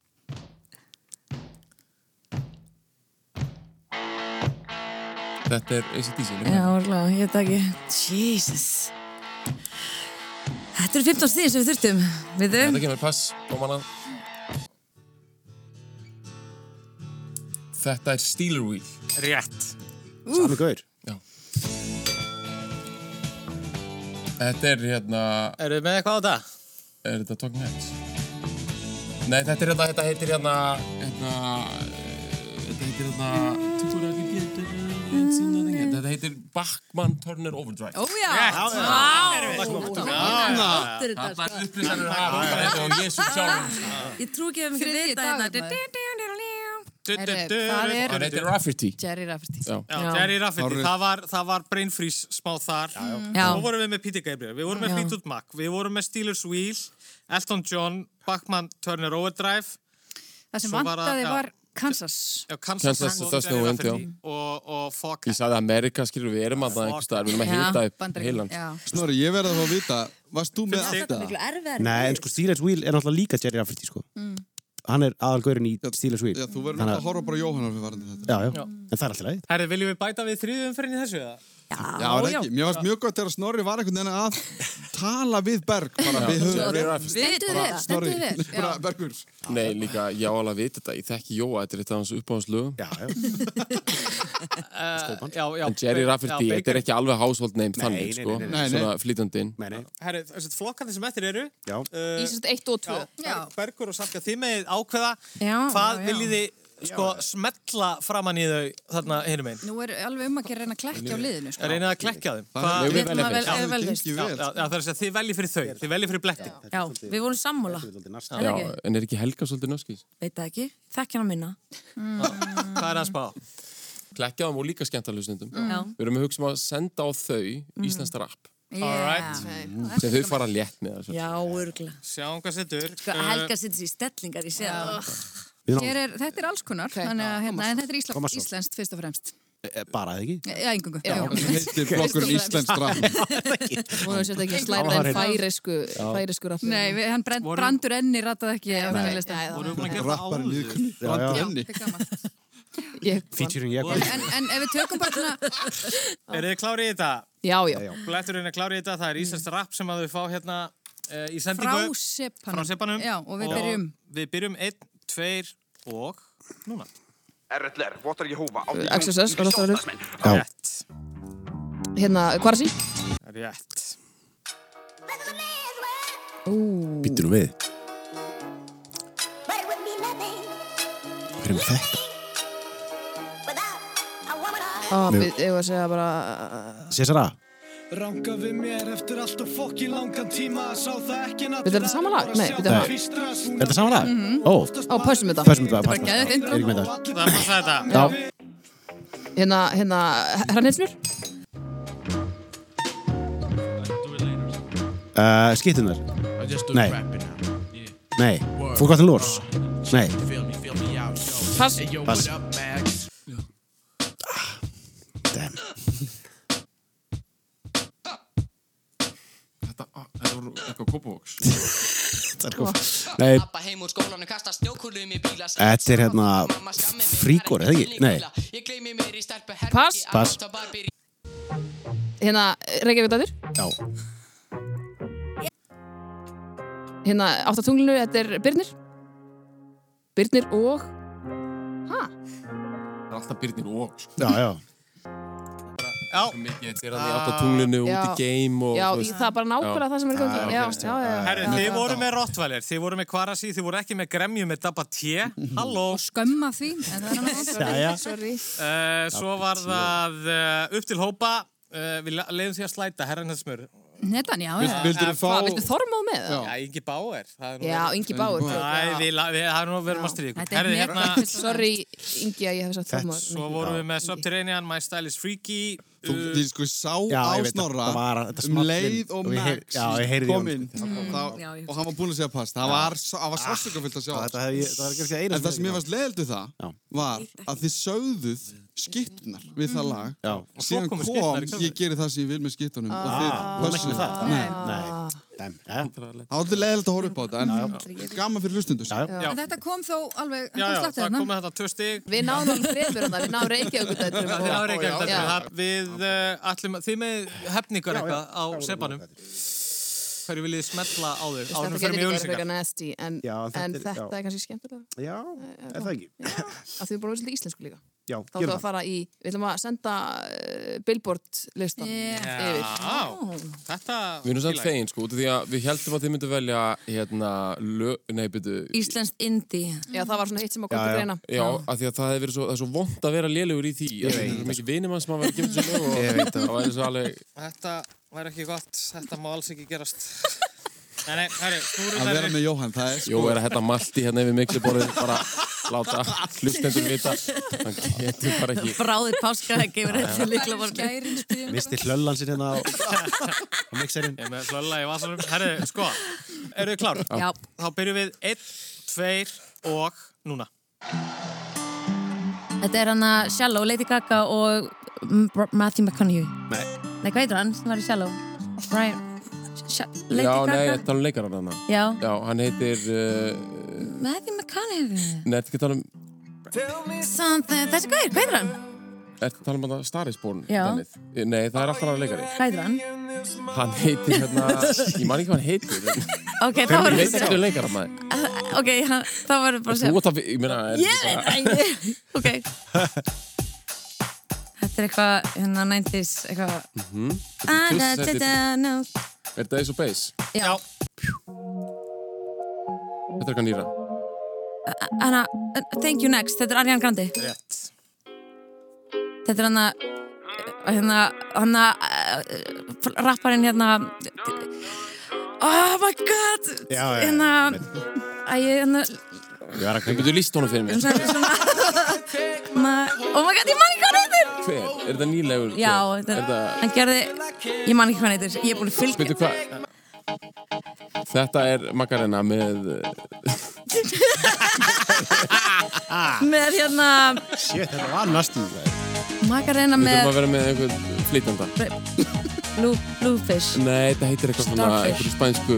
Þetta er ACDC Já, orðlega, ég veit það ekki Jesus Þetta eru 15 stíðin sem við þurftum Við þau Þetta kemur pass og manna Þetta er Steeler Wheel Rétt. Sami gaur. Þetta er hérna Eru þið með eitthvað á þetta? Er þetta Talking Heads? Nei, þetta er hérna, þetta heitir hérna Hérna eh, Þetta heitir hérna Tuttur ekki getur and see nothing yet. Þetta heitir Bachmann Turner Overdrive Ó já, Þetta er þetta Þetta er upplýsanir að hafa þetta og Jésu sjálfur Ég trú ekki að við myndum Þriðji vita hérna dagur, maður. Du-du-du-du-du-du. það er- Þetta er Rafferty. Jerry Rafferty. Já. Já, Já. Mm. Jerry Rafferty, Árið. það var, það var brain freeze smá þar já, Já. Nú vorum við með Peter Gabriel, við vorum með Já. Fleetwood Mac Við vorum með Steelers Wheel, Elton John Bachmann Turner Overdrive Það sem Svo var að- vantaði já. var Kansas. já, Kansas, Kansas, og það Jerry snúið, já. Rafferty og, og Fogg Ég sagði Amerika, skilur við erum að það einhver staðar, við erum að hýta upp Bandaríkin, heilan. já. Snorri, ég verði þá að vita, varst þú með Fimm allt Þetta er það? miklu erfiðar. Nei, en sko Steelers Wheel er náttúrulega líka Jerry Rafferty sko. Hann er aðalgaurinn í Steelers Wheel Já, þú verður Þannig náttúrulega að horfa bara á Jóhannar fyrir varandi þetta. Já, já, en það er alltaf leið Herri, viljum við bæta við þriðum fyrir þessu? eða? Já, er ekki. Mér varst mjög gott þegar Snorri var einhvern veginn að tala við Berg, bara við höfum. Stendur vel, Snorri, stendur vel. já. bara Bergur. Nei, líka, ég á alveg að vita þetta, ég þekki Jóa, þetta er eitt af hans uppáhanslögum. Já, já, Eh, Já, já, En Jerry Rafferty, já, þetta er ekki alveg household name þannig, nei, nei, sko, nei, nei. svona flýtandi inn. meni, Herri, þessi flokkandi sem eftir eru já Í sérst eitt og tvö. Eh, já. Já. Bergur og Salka, þið með ákveða Já, hvað já, já. viljið þið sko, smetla framan í þau þarna hinum einn Nú er alveg um að gera reyna að klekja á liðinu. Sko. reynið að klekja þeim Það Hvað- er- Við Við ætlum velja að fyrst. velja Það vel, gengi Já, vel. já, það er að segja þið veljið fyrir þau, þið veljið fyrir blekkin Já, við vorum sammála. Þetta Já, Er ekki? en er ekki Helga svolítið nöskis? Veit það ekki. Þekk hann að minna. Mm. Hvað er að spá? Klekkjaðum og líka skemmtarlustundum. Mm. Já. Mm. Við erum að hugsa um að senda á þau íslenskt rap, All right. sem þau fara létt með þessu. Já, örgulega. Sjáum hvað setur Sko, Helga sittur í stellingar, ég sé það. Hér Er, þetta er alls konar, þannig að hérna, en þetta er ísla, Thomas. íslenskt fyrst og fremst. Bara eða ekki Já, engungu. Já. Það E, heitir flokkurinn Íslensk drafn. Hún er sérst ekki að slæta Það var en hreint. færesku, færesku raffi. Nei, við, hann brend, Voru- brandur enni rataði ekki á þennan lista. Vorum við búin að gera það Rappar áður? líðkunni. Brandi já. henni. Þetta er gaman. Ég, Featuring ég hvað En, en ef við tökum bara svona, Eru þið klárið í þetta? já, já. Bletturinn er klárið í þetta, það er íslenskt rap sem að þau fá hérna uh, í Mm. frá sendingu sepanum. frá sepanum Já, og við byrjum. Við byrjum einn, tveir og núna RLR, Votar Jehova Axel Sess, var alltaf að hlusta. Rétt, Hérna, hvað er það rétt Býttu nú við Hver er með þetta? Við eigum að segja bara... César A Ranga við mér eftir alltaf fokki langan tíma Sá það ekki náttúrulega Við erum þetta sama lag? Nei, við erum það. Er þetta saman lag? Ó, Mhm. Á, pössum þetta. passum þetta bara geðveikt intro. Erik með það Það er bara þetta Já, Hérna, hérna, hranninsmjör? uh, skittunar Nei Nei, Forgotten Lords Nei, Pass. pass Damn Þetta ah, þetta voru eitthvað kópavóks. Nei, Lappa heim úr skólanum, kasta snjókulum í bíla Þetta er hérna fríkor, eða ekki? Nei. Ég gleymi mér í stelpu herbergi Pass. að Pass. láta barberi- Hérna, Reykjavík dætur? já Hérna, áttatunglinu, þetta er Birnir. Birnir og... Hæ? Það er alltaf Birnir og, sko. Já, já Já, Mikið, þetta er hann í átta tunglinu, Já. út í game og... Já, þú í- veist. það er bara nákvæmlega það sem er í gangi. Já, já, já, já. herri, þið voru með Rottweiler, þið voru með Kvarasi, þið voru ekki með Gremju með Dabba T Halló Skömma því, en það er hann Jæja. Sorry. Eh, Svo var það uh, upp til hópa uh, Við la- leiðum því að slæta, herran hans smör Nettan, já, já. Vildur fá... Hvað, viltu Þormóð með það? Já, Ingi Báer það er nú- Já, Ingi Báur. Æ, við, la- við, það er nú að vera maður stríð ykkur. Þetta er Herri, net- hérna, fyrst og Sorry, Ingi, að ég hef sagt um Þormóð. svo vorum við með Subterranean, My Style is Freaky uh, Þú, þið sko sá Já, á ég veit, Snorra það var- þetta um small inn. leið og Og ég heyr- Max já, ég heyrði í kom honum. inn Já, þá- ég- og hann var búinn að segja pass það var, sá- það var sásökafullt að sjá Þetta hef ég, það er kannski eina en það sem ég varst leiðildu Já. það var að þið sögðuð skiptnar við það lag Já og síðan komu kom skitnar í kjölfarið. ég geri það sem ég vil með skiptunum og þið Ekki pössuðu það? það Nei, nei Damn, já, var alltaf leiðilegt að horfa upp á þetta en gaman fyrir hlustundur já, já Já. En þetta kom þó alveg, Já, hann já, kom sláttið það hérna. komið þetta tvö stig Við náðum alveg fremur hann, við náðum Reykjavík dætur. Það er ekki Já. eitthvað Við uh, ætlum að, þið með hefningar eitthvað á sepanum Hverju viljið þið smetla á þau? Þetta Ánum getur fyrir mjög ekki verið ölsingar frekar nasty, en, Já, þetta en er- þetta já. er kannski skemmtilega. Já, er það ekki? Af því við bara verðum svolítið íslensku líka. Já, gerum Þá ætlum við það að fara í, við ætlum að senda uh, billboard listan yfir. Já, þetta Við erum samt fíla ég. fegin, sko, út af því að við heldum að þið myndu velja, hérna, lög... Nei, byrju, Íslenskt indie. Já, það var svona hitt sem Já, að koma til já. greina. Já, af því að það hefur verið svo, það er svo vond að vera lélugur í því að það er mikið vinimann sem að vera gemt þessu lög og það væri svo alveg Þetta væri ekki gott, þetta má alls ekki gerast Nei, nei, herri, snúrum Að vera með Jóhann, það er sko... Jó, er að hætta malti hérna yfir mikluborðið bara láta hlustendur vita hann getur bara ekki Bráðið páska það gefur þetta líkla Skærin spyrjum Misti hlöllan sér hérna á, á mixerinn. Ég er með flölla í vasanum. Herri, sko, eru þið klár? Já, Þá byrjum við einn, tveir og núna. þetta er hann að Shallow, Lady Gaga og mm, Br- Matthew McConaughey Nei. Nei, hvað heitir hann sem var í Shallow? Brian Sh Sh- Lady Já, Gaga? nei, ég tala um leikarann hann Já, Já, hann heitir uh, Matthew McConaughey Nei, ertu ekki að tala um Something, þessi gæðir, hvað heitir hann? Ertu að tala um að það starrisbórn? Já. Eh, Nei, það er alltaf hann leikari Hvað heitir hann? Hann heitir hérna Ég man ekki hvað hann heitir Ok, Ég þá var veit ekki hvað leikarann maður Ok, hann- þá var bara að Þú segja ert að, ég meina er Ég veit það ekki Ok Þetta er eitthvað, hérna, 90s, eitthvað Mhm. Ah, da, da, da, no Er þetta eins og beis? Já, Þetta er eitthvað nýra hana, uh, thank you next, þetta er Ariana Grande Rétt. Þetta er hana, uh, hérna, hana, uh, rapparinn hérna Oh my god, Já, já, hérna, æ, hérna, Ég var að Þú kveika. getur líst honum fyrir mér Um svona, svona, ma, oh my god, ég man ekki hvað hann heitir Hver? Er þetta nýlegur? Já, þetta er þetta, þetta- hann gerði, ég man ekki hvað hann heitir, ég er búin að fylgja Veitu hvað? Þetta er Magarena með Ah. með hérna, Shit, þetta var næstum það. makarena Við þurfum með að vera með einhvern flýtanda blue, Bluefish, Nei, þetta heitir eitthvað svona Starfish. einhverju spænsku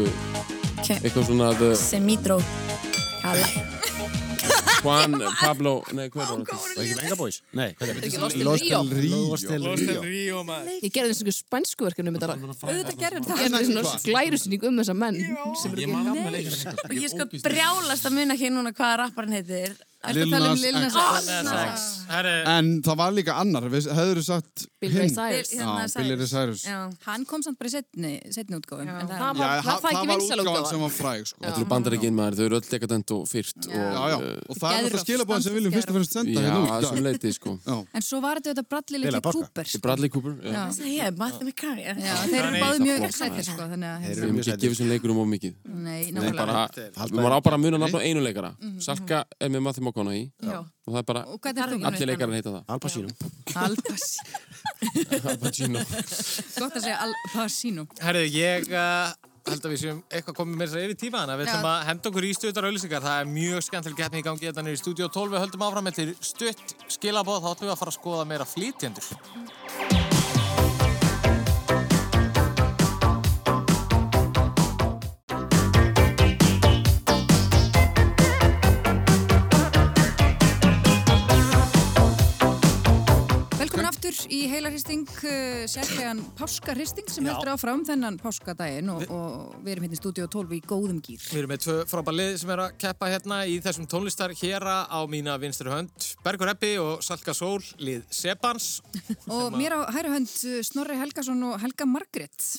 Ok. eitthvað svona the Semidro, Kala. Juan Pablo Nei, hvað er það? Var ekki Venga Boys? Nei, hvað er Ekki þetta? Lost in Rio. Lost in Rio. Ríó, maður. Ég gerði þessu spænsku verkefni um þetta lag. Auðvitað gerður Ég það. gerði svona glærusinning um þessa menn sem eru ekki Nei, Og ég sko brjálast að muna ekki núna hvaða rapparinn heitir. Ertu Lil að tala um Nas Lil X. Nas X? Eða sex. Herri, En það var líka annar, við hefur sagt Bill Ray hinn. Cyrus. Bill- Hérna, Já, Billy Ray Cyrus. Já. Hann kom samt bara í setni, setni útgáfum. en það- Það Já, var, var það, það ekki var vinsal útgáðan sem útgáðan. var fræg, sko. Þetta eru bandaríkinn maður, þau eru öll dekadent og fyrt og eh, Já, já, og það er Geðróf, náttúrulega skilabóðin sem við viljum fyrst og fremst senda já, hérna að út. sem leiti sko En svo var þetta auðvitað bralli Lilla litli Barka. Cooper. sko. Bradley Cooper já. Það er ég, Matthew McCarry. Já, þeir eru Þannig- báði mjög Flott, excited, sko, þannig að... Þeir Við eru erum mjög ekki að gefa sættir. þessum leikurum of mikið Nei, Nei, nákvæmlega. Mm, bara, Halda Við má bara að muna nafn á einu leikara Salka er með Matthew McConaughey og það er bara, Og hvað er þú? allir leikarar heita það Al Pacino. Al Pacino. Al Pacino Gott að segja Al Pacino. herri, ég uh, held að við séum eitthvað komið með þess að yfir tíma þannig að við Já. ætlum að henda okkur í stuttar auðlýsingar. Það er mjög skemmtileg getni í gangi hérna niður í stúdíu 12. Við höldum áfram eftir stutt skilabóð, þá ætlum við að fara að skoða meira flýtjendur. Velkomin aftur í heilarhristing, uh, sérlegan páskarhristing sem heldur áfram þennan páskadaginn og, og við erum hérna í stúdíu 12 í góðum gýr. Við erum með tvö frábæð lið sem er að keppa hérna í þessum tónlistar héra á mína vinstri hönd. Bergur Eppi og Salka Sól, lið Sebans. Og mér á hæra hönd uh, Snorri Helgason og Helga Margrét,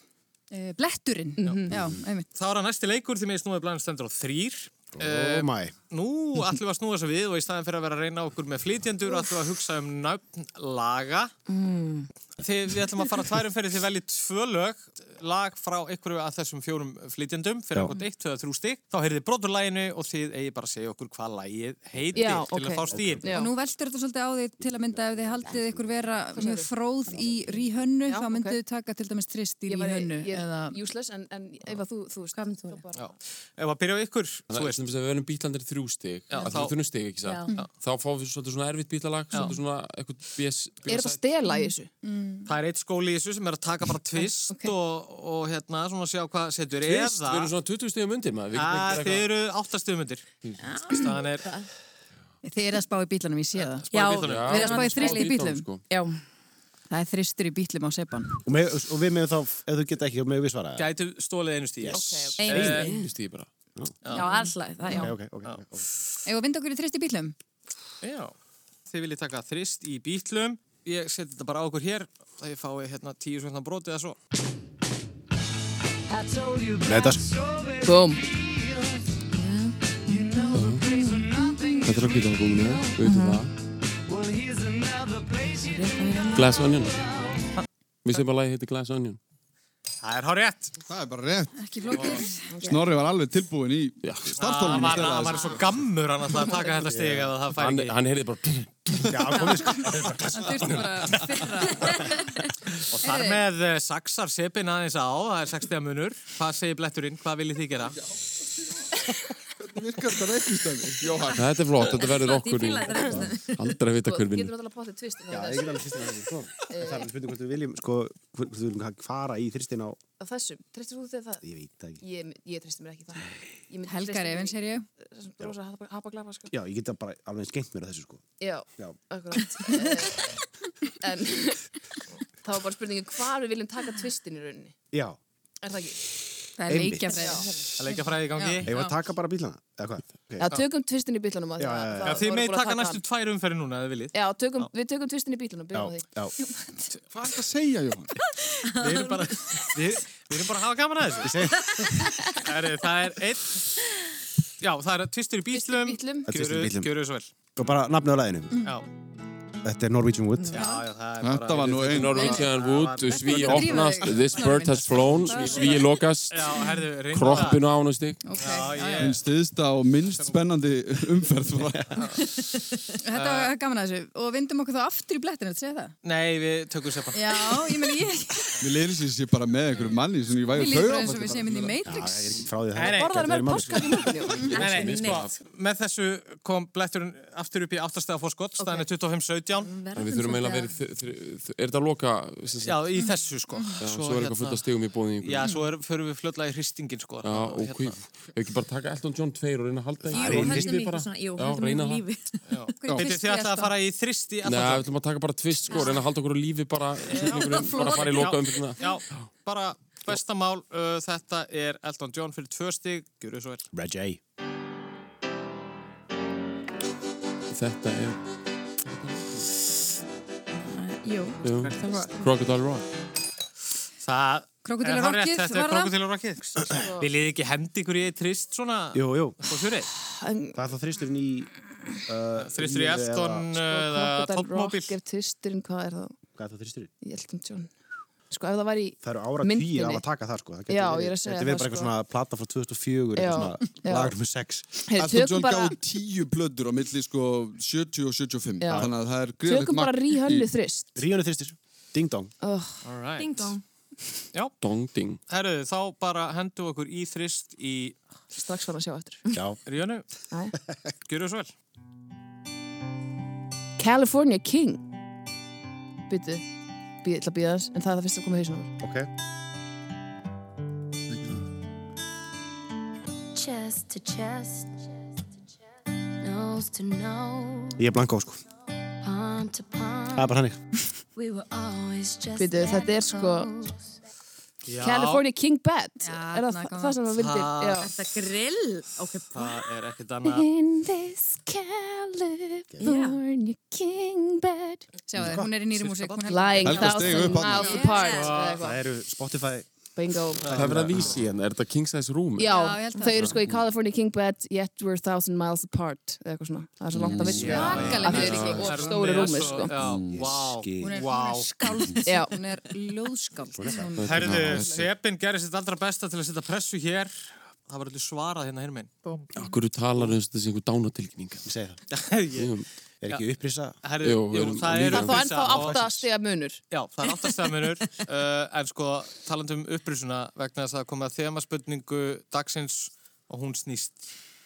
uh, bletturinn. Já, einmitt. Þá er að næsti leikur því með snúið blæðin stendur á þrýr. Oh Um, my. nú ætlum við að snúa þessu við og í staðin fyrir að vera að reyna okkur með flytjendur ætlum við að hugsa um nöfn laga. Mm. Þið, við ætlum að fara tværum fyrir því veljið tvö lög, lag frá einhverju af þessum fjórum flytjendum fyrir Já. einhvern eitt, tveða, þrjú stík. Þá heyrðið brotur laginu og þið eigi bara að segja okkur hvað lagið heitir Já, til ok. að fá stíin. Já. Og nú veldur þetta svolítið á því til að mynda ef þið haldið ykkur vera mjög fróð í ríhönnu, Já, þá myndu ok. þið taka til dæmis trist í Ég var ríhönnu. eða... Eða... useless, en, en ef að þú, þú veist, hvað myndir þú Já, ef að byrja á ykkur, þú Þannig að veist. sem við verðum bítlandir þrjú stig Já, að þá- þá þrjú stig, ekki satt Já. þá fáum við svolítið svona erfitt bítlalag svolítið svona eitthvað BS Er þetta að stela í þessu? Það er eitt skóli í þessu sem er að taka bara tvist og, og hérna svona sjá hvað setur Fyrst, við erum eða svona 20 stigum undir maður við getum að ekki þið gera eru áttastumundir staðan er Þið eru að spá í bílanum, ég sé það. Já, bílunum. eitthvað- Við erum að spá í þrýst í bílum. sko. Já, Það er þristur í bílum á sepan. Og, með, og við meðum þá, ef þú geta ekki, þá meðum við svara. gætu stólið einu Eh, stíð yes. einu stund. einu stíð bara Já, alltaf, það, já. Ok, ok, ok. ok. Ef við vinda okkur í þristur í bílum? Já, þið viljið taka þrist í bílum ég seti þetta bara á okkur hér það ég fái hérna tíu svona broti eða svo Nei, þetta er Búm. Þetta er á gítargúminu, auðvitað það Glass Onion Vissið bara að lagi heiti Glass Onion Það er hár rétt. Það er bara rétt. Ekki flókir. Snorri var alveg tilbúin í Hann startólunum. var, hann var svo gammur hann alltaf að taka þetta stig að það færi Hann, ekki. hann heyrði bara Já, komið sko. Það þurfti bara að fyrra. Og þar með eh, saxar sepin aðeins á, það er 60 munur. Hvað segir bletturinn? Hvað viljið þið gera? Hvernig virkar þetta reiknistæmi? Jóhann. Þetta er flott, þetta verður Ég okkur í fíla þetta reynstu. aldrei að vita Sko, hver Getur vinnur. náttúrulega potið tvist Já, ég get alveg þrýstin á þessu. En Eh. Það er alveg spurning hvort við viljum, sko, hvort við viljum fara í þrýstin á, Á þessum, treystir þú þig það? ég veit það ekki. Ég, ég treystir mér ekki það Ég myndi Helga treysta mér Reifin, í- sér ég. Þessum brosa hapa- hapaglapa sko Já, ég get bara alveg skemmt mér að þessu, sko. Já, Já. akkurat Eh, En þá var bara spurningin hvað við viljum taka tvistin í rauninni Já, Er það ekki? Það er Einmitt. leikja fræðið. Það leikja fræði í gangi. ég var að taka bara bílana, eða hvað? Já, Okay. tökum tvistin í bílunum Já, já, já. Já, þið með taka næstu tvær umferði núna, ef þið viljið. Já, tökum, við tökum tvistin í bílunum, byrjum á því Já, já. Hvað er það að segja, Jóhann? Við erum bara, við, við erum bara að hafa gaman að þessu. Það er, það er einn, já, það er tvistur í Tvistur í bítlum. bítlum. Það er tvistur í Gjöru- bítlum. Gjöru svo vel. Og bara nafnið á læginu. Já, Þetta er Norwegian Wood. já, já, það er bara... Þetta var nú einn. Norwegian Wood, sví Þetta er opnast, drífaði. this bird has flown, sví lokast, Já, herðu, reynda kroppinu á hún og stig. Ok. Já, ég... Einn stiðsta og minnst spennandi umferð. var- Þetta var gaman að þessu. Og vindum okkur þá aftur í blettinu, þetta segja það. Nei, við tökum sepan. Já, ég meni ég. Mér leiðis ég sé bara með einhverju manni sem ég væri Mér líður eins og við séum inn í Matrix. Ég er ekki frá því að Nei, það. nei. Borðar Þetta er með málið, sko. páskar í morgunum Nei, nei, Ekki sko, með þessu kom bletturinn aftur upp í áttastega fórskott, staðan er 25-17. En við þurfum eiginlega að vera, er þetta að loka, sem sagt, Já, í þessu, sko. já, svo er eitthvað fullt af stigum í bóðið í einhverju. Já, svo er, förum við fljóðlega í hristingin, sko. Já, og hví, ef ekki bara taka Elton John 2 og reyna að halda Jú, hendur mig eitthvað svona, jú, Já, hendur reyna mig það. í lífi. Þetta er því að það fara í þristi Nei, við ætlum að taka bara tvist sko, reyna að halda okkur á lífi bara, bara fara í loka um Já, bara besta mál, uh, þetta er Elton John fyrir tvö stig, gjur þau svo vel. Reg A. Þetta er Jú, jú, Crocodile Rock. Það Krókódílar er hárrétt, rockið, Þetta var er það? krokodilurrokkið. Viljið þið ekki hendi ykkur í eitt þrist svona? Jú, jú. Og þurrið? Það er þá þrýsturinn í... Uh, Þristur í eða- Elton uh, eða Sko, Crocodile Topmobil? Rock er tvisturinn, hvað er það? Hvað er það þrýsturinn? Ég held um John Sko, ef það var í Það eru ára Myndinni. tíu af að taka það, sko. Það gæti Já, verið- ég er að segja Þetta er bara það, eitthvað sko. svona plata frá 2004, Já, eitthvað já. svona lagnum 6. Heyrðu, Elton tökum John bara- gáði tíu blöddur á milli sko 70 og 75. Já. Þannig að það er greiðilegt Tökum bara ríhönnu þrist Ríjónu þrýstur. Ding dong. All right. ding dong. Já, Dong ding. herru, þá bara hendu okkur í þrist í Strax fann að sjá eftir Já. Ríðanu. Jæja. Gjur þau svo vel? California King Byttu Ég ætla að býða þess En það er það fyrst að koma í hausnum á mér. Ok. chest to chest, nose to nose, Ég er blanko, sko. palm to palm. Það er bara hannig. We were always just Bíddu, þetta er sko- close. California King Bad Já, Er það þarna kom það sem það Það- vildir Já. Þetta grill, ok, Það er ekkert annað. In this California king bed. Sjáðu, þið, hún er í nýri músík. hún heldur- Lying Helga steig thousand upp þarna. miles apart eða eitthvað. Það eru Spotify. Bingo Það er verið að vísi hérna, er þetta King's Eyes Room? Já, Já, ég held það. þau eru sko í California King Bed Yet we're thousand miles apart eða eitthvað svona Það er svo langt að vilja Svakalega Að þau eru mikið. ekki of stóru rúmið sko Já, vá. Skil. Hún er, Vá. hún er skáld, Já. hún er ljóðskáld. Hún Herðu, Sebin gerir sitt allra besta til að setja pressu hér. Það var allir svarað hérna hérna minn. Akkur talar eins og þessi einhver dánatilkning. Ég segi það. Herðu, Er ekki upprisa. Jú, jú, við erum það líka- er Það er þá ennþá átta stiga munur Já, það er áttastæðamunur, uh, en sko talandum um upprisuna vegna þess að komið að þema spurningu dagsins og hún snýst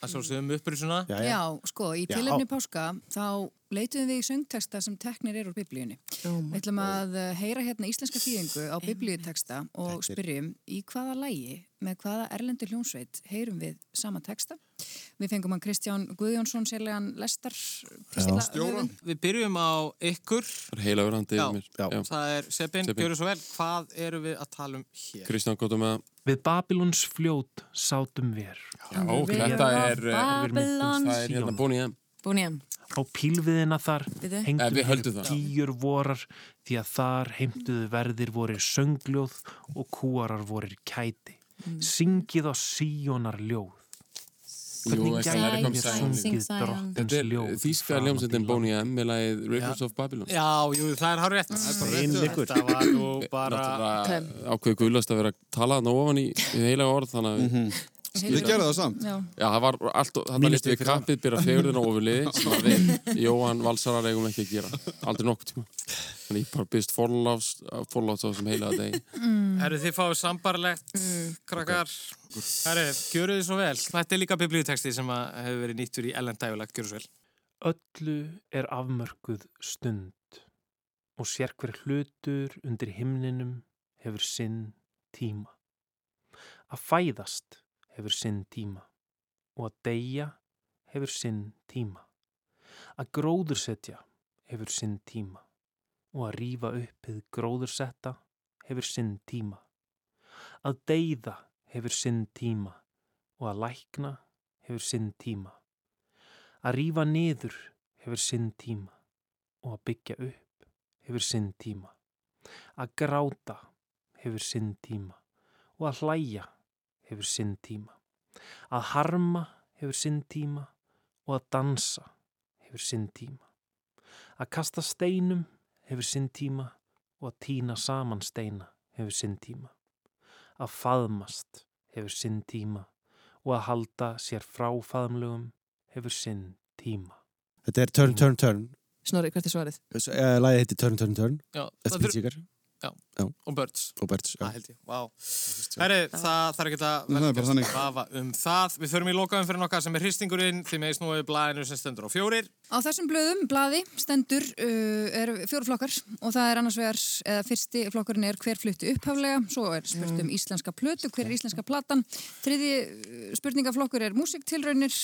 að sjálfsögum um upprisuna. Já, já. Já, sko, í Já. tilefni páska þá leituðum við í söngtexta sem teknir eru úr biblíunni. Við ætlum að eh, heyra hérna íslenska þýðingu á biblíuteksta og spyrjum í hvaða lægi, með hvaða erlendu hljónsveit heyrum við sama texta. Við fengum hann Kristján Guðjónsson sérlegan lestar pistla höfund. Við byrjum á ykkur, Það er heila verandi Já. yfir mér. Já. það er Sebin, Sebin. Sebin. gjörðu svo vel, hvað eru við að tala um hér? Kristján, gott um að... Við Babylons fljót sátum vér Já, þetta er... eh, Babylon. Það er hérna Bonnie M. Búin ég, á pílviðina þar Bíddu. Eh, við höldum hengdum það. tíur vorar því að þar heimtuðu verðir vorir söngljóð Mm. og kúarar vorir kæti syngið á síjónar ljóð Jú, Hvernig veist, það er gæti kom mér Zion. sungið drottins Þetta er ljóð þýska hljómsveitin Boney M með lagið Records of Babylon Já, jú, það er hár rétt. Steinleikur. Þetta var nú bara... Náttúrulega ákveði guðlast að vera að tala þarna ofan í í heilaga orð þannig að við... Þið gerðu Mhm. það samt. Já. Já, það var allt, þannig að Mínu listu stig við fyrir hana. kappið byrja fegurðin á ofurliði sem að við Jóhann Valsarar eigum ekki að gera aldrei nokkuð tíma þannig ég bara byrst forláts forláts á þessum heilaga degi Mm. Herru, þið fáið sambarlegt, krakkar. Herru, gjöru þið svo vel. Þetta er líka biblíutexti sem að hefur verið nýttur í Ellen Dævulag. Gjöru svo vel. Öllu er afmörkuð stund og sérkver hlutur undir himninum hefur sinn tíma. Að fæðast hefur sinn tíma og að deyja hefur sinn tíma. Að gróðursetja hefur sinn tíma og að rífa upp við gróðursetta hefur sinn tíma. Að deyða hefur sinn tíma og að lækna hefur sinn tíma. Að rífa niður hefur sinn tíma og að byggja upp hefur sinn tíma. Að gráta hefur sinn tíma og að hlæja hefur sinn tíma. Að harma hefur sinn tíma og að dansa hefur sinn tíma. Að kasta steinum hefur sinn tíma og að týna saman steina hefur sinn tíma. Að faðmast hefur sinn tíma og að halda sér frá faðmlögum hefur sinn tíma. Þetta er Turn, Turn, Turn Snorri, hvert er svarið? uh, Lagið heitir Turn, Turn, Turn Já, það Eftir fyrir- Pete Seeger Já. Já. Og Birds. Og Birds, já Það held ég, vá. Herru, það þarf ekki að Nei, það er bara þannig. vafa um það. Við förum í lokaðum fyrir nokkað sem er hristingurinn. Þið með snúið blæðinu sem stendur á fjórir. Á þessum blöðum, blaði, stendur uh, er fjóru flokkar og það er annars vegar, eða fyrsti flokkurinn er hver fluttu upphaflega, svo er spurt Mm. um íslenska plötu, hver er íslenska platan þriði uh, spurningaflokkur er músiktilraunir,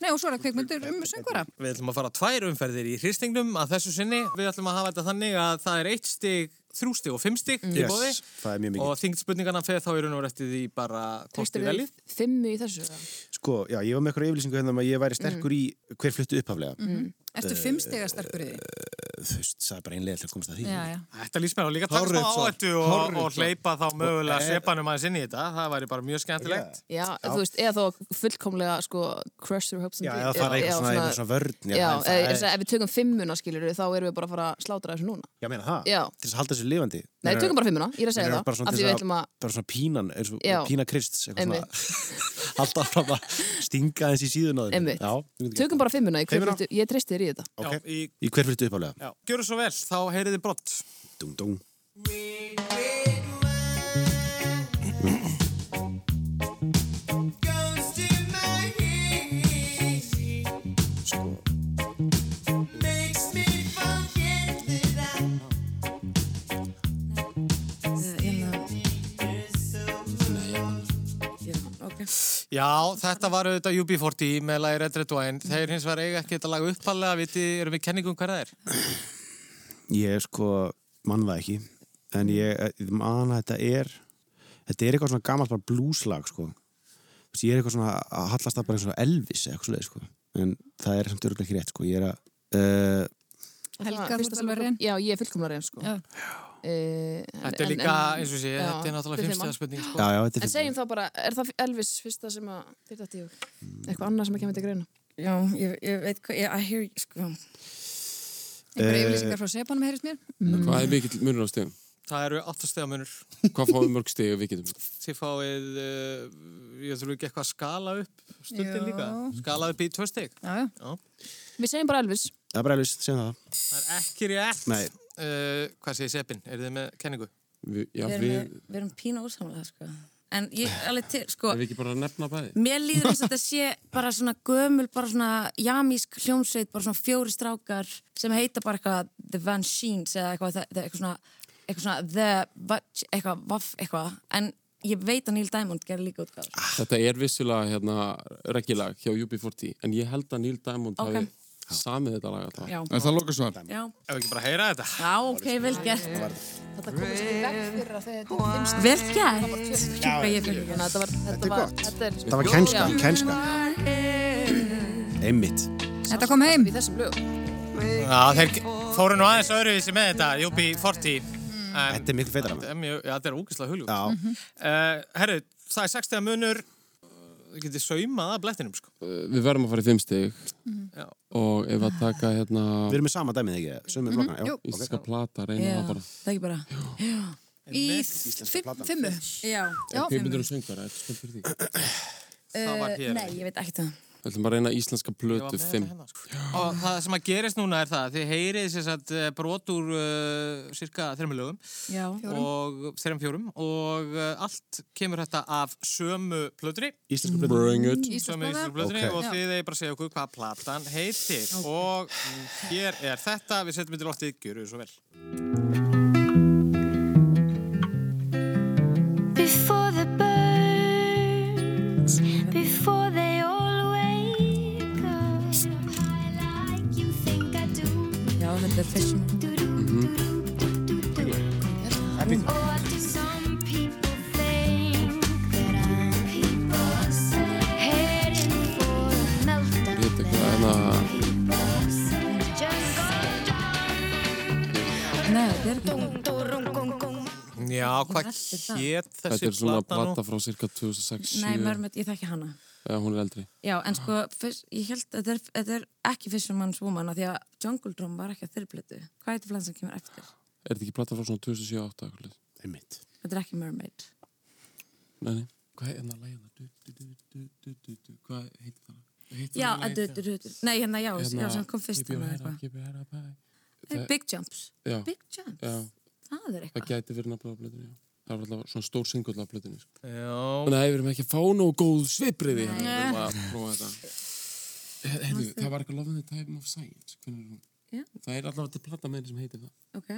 nei og svo er það kveikmyndur um söngvara. Við ætlum að fara tvær umferðir í hristingnum að þessu sinni. Við ætlum að hafa þetta þannig að það er eitt stig, þrjú stig og fimm stig í Mm. Yes, bóði. það er mjög mikið. Og þingt spurningana feð þá í raun og veru eftir því bara hvort Tristir þið við veljið. fimmu í þessu? eða? Sko, já, ég var með eitthvað yfirlýsingu hérna um að ég væri sterkur Mhm. í hver fluttu upphaflega Mm. Ertu Eh, fimm stiga sterkur í því? Þú veist, það er bara einlega til að komast að því Já, já. Þetta líst mér á líka takk Hárrétt smá svar. áættu og, Hárrétt og svar. hleypa þá mögulega Og- e- sepanum aðeins inn í þetta. Það væri bara mjög skemmtilegt. Já, þú veist, eða þá fullkomlega sko, crush your hopes and Já, dreams. eða fara eitthvað svona- eitthvað svona vörn, já, Já, e- en það eða- er- eða ef við tökum fimmuna skilur þá erum við bara að fara að slátra þessu núna Já, meina það, e- Já. til þess að halda þessu lifandi Nei, Meina- tökum bara fimmuna, ég er að segja meina það, bara svona af til því við þess ætlum að- Bara svona pínan, eins og Já. pína Krists eitthvað svona- Einmitt. Halda fram að stinga þessi síðun á þeim Einmitt. Já, þú getur gert Tökum bara fimmuna, ég, Fimmuna. ég treysti þér í þetta það. Ok. í... Í hver fluttu upphaflega Já. Gjöru svo vel, þá heyrið þið brott. Dung, dung Já, þetta var auðvitað UB40 með lagi Red Red Wine. Þeir hins vegar eiga ekki þetta lag uppalega, vitið, erum við kenningum hvað það er? Ég sko mann það ekki en ég man að þetta er þetta er eitthvað svona gamalt bara blúslag sko. Þú veist, ég er eitthvað svona að hallast það bara eins og Elvis eða eitthvað svoleið sko. en það er samt örgulega ekki rétt sko. ég er að uh, Helga, þú ert alveg reyn? Já, ég er fullkomlega reyn sko. Eh, uh, Þetta er líka, eins og sé, þetta er náttúrulega fimmstega spurning. Sko. Já, já, þetta er En segjum þá bara, er það Elvis fyrsta sem að þetta þetta í hug? Eitthvað annað sem að kemur til greina? Já, ég, ég veit hvað, ég, I hear you, sko. Einhverja Eh, yfirlýsingar frá sepanum heyrist mér? Mm. Hvað er mikill munur á stegum? Það eru áttastega munur. Hvað fáum við mörg steg og við getum? Þið fáið, uh, ég þurfu ekki eitthvað að skala upp stundin Já. líka. Skala upp í tvö steg. Já, já. Við segjum bara Elvis Það er bara Elvis, segjum það Það er ekki rétt. Nei. Uh, hvað segir Seppin? Er þið með kenningu? Vi, já, við, við, erum, við erum pína ósamlega, sko. En ég, alveg til, sko, er við ekki bara að nefna bæði? mér líður eins og þetta sé bara svona gömul, bara svona jamísk hljómsveit, bara svona fjóri strákar sem heita bara eitthvað The Van Sheens eða eitthvað, það- það- eitthvað svona, eitthvað svona The, Vat- eitthvað, Vaff, eitthvað. En ég veit að Neil Diamond gerir líka útgáður. Þetta er vissulega hérna, regjulag hjá UB40 en ég held að Neil Diamond Ok. hafi samið þetta lag alltaf. Já. Er það lokar svar? Já. Ef við ekki bara heyra þetta? Já, ok, vel gert. Þetta komist í veg fyrir að þetta er fimmst Vel gert. Hjúpa ég fyrir Þannig að þetta var, þetta var, gott. þetta er Þetta var kænska, Já. kænska. einmitt Þetta kom heim. Í þessum lögum. Já, þeir fóru nú aðeins öðruvísi með þetta, UB40. En, Þetta er miklu feitar af Mhm. þetta Eh, er mjög, já, þetta er ógeðslega huljúkt. Já. Uh, herru, það er 60 munur. getið saumað að blettinum sko. Eh, Við verðum að fara í fimm stig Mhm. Já. og ef að taka hérna... Við erum með sama dæmið ekki, sömu Mhm, flokkana, já. jú. Íslenska plata, reyna það bara. það ekki bara Já. Í fimm- fimmu Já, Já, Kveikmyndir og söngvara, er spil fyrir því. það var Eh, hér. Nei, ég veit ekki það Við ætlum bara að reyna íslenska Ég var plötu með fimm. hérna, sko. Og það sem að gerist núna er það að þið heyrið sér satt brot úr uh, cirka þreymur lögum Já, og þreym fjórum og uh, allt kemur þetta af sömu plötri Íslensku plötunni. Mm. Bring it. Sömu Íslensku íslensku plötri Ok. og Já. þið eigið bara að segja okkur hvað platan heitir og mm, hér er þetta, við setjum þetta loftið, gjöru svo vel Before the birds, before they all wake up. I like you, think I do. Já, þetta er fyrst Mm-hmm. Oh, what do some people think that I'm people heading for a meltdown? Ég veit ekki hvað hérna... Just Nei, þetta er þetta Já, hvað hétt Þetta þessi er svona plata nú? plata frá cirka 2006 Nei, mörmöld, ég þekki hana Eða hún er eldri. Já, en sko, Ah. fyrst, ég held að þetta er, þetta er ekki Fisherman's Woman af því að Jungle Drum var ekki að þyrrblötu Hvað heitir flann sem kemur eftir? Er þetta ekki plata frá svona 2007-2008? Einmitt. Þetta er ekki Mermaid Nei, nei. Hvað er hérna lagið það? Du, du, du, du, du, du. Hvað heitir það? Heitir Já, það að lagið það? dötur, dötur Nei, hérna, já, Hérna, já, sem kom fyrst keep your hana head up, eitthvað keep your head up high. Eh, Það- Big Jumps Já. Big Jumps, Já, það er það eitthvað gæti verið nafnlega á plötunni, já. Það var alltaf svona stór singull af plötunni, sko. Já. Þannig að við erum ekki að fá nóg góð svipriði Nei. hérna, við erum að prófa þetta. He- Heyrðu, það var eitthvað lofnið Time of Science, hvernig er hún? Já. Það er alltaf til plata með henni sem heitir það. Ok,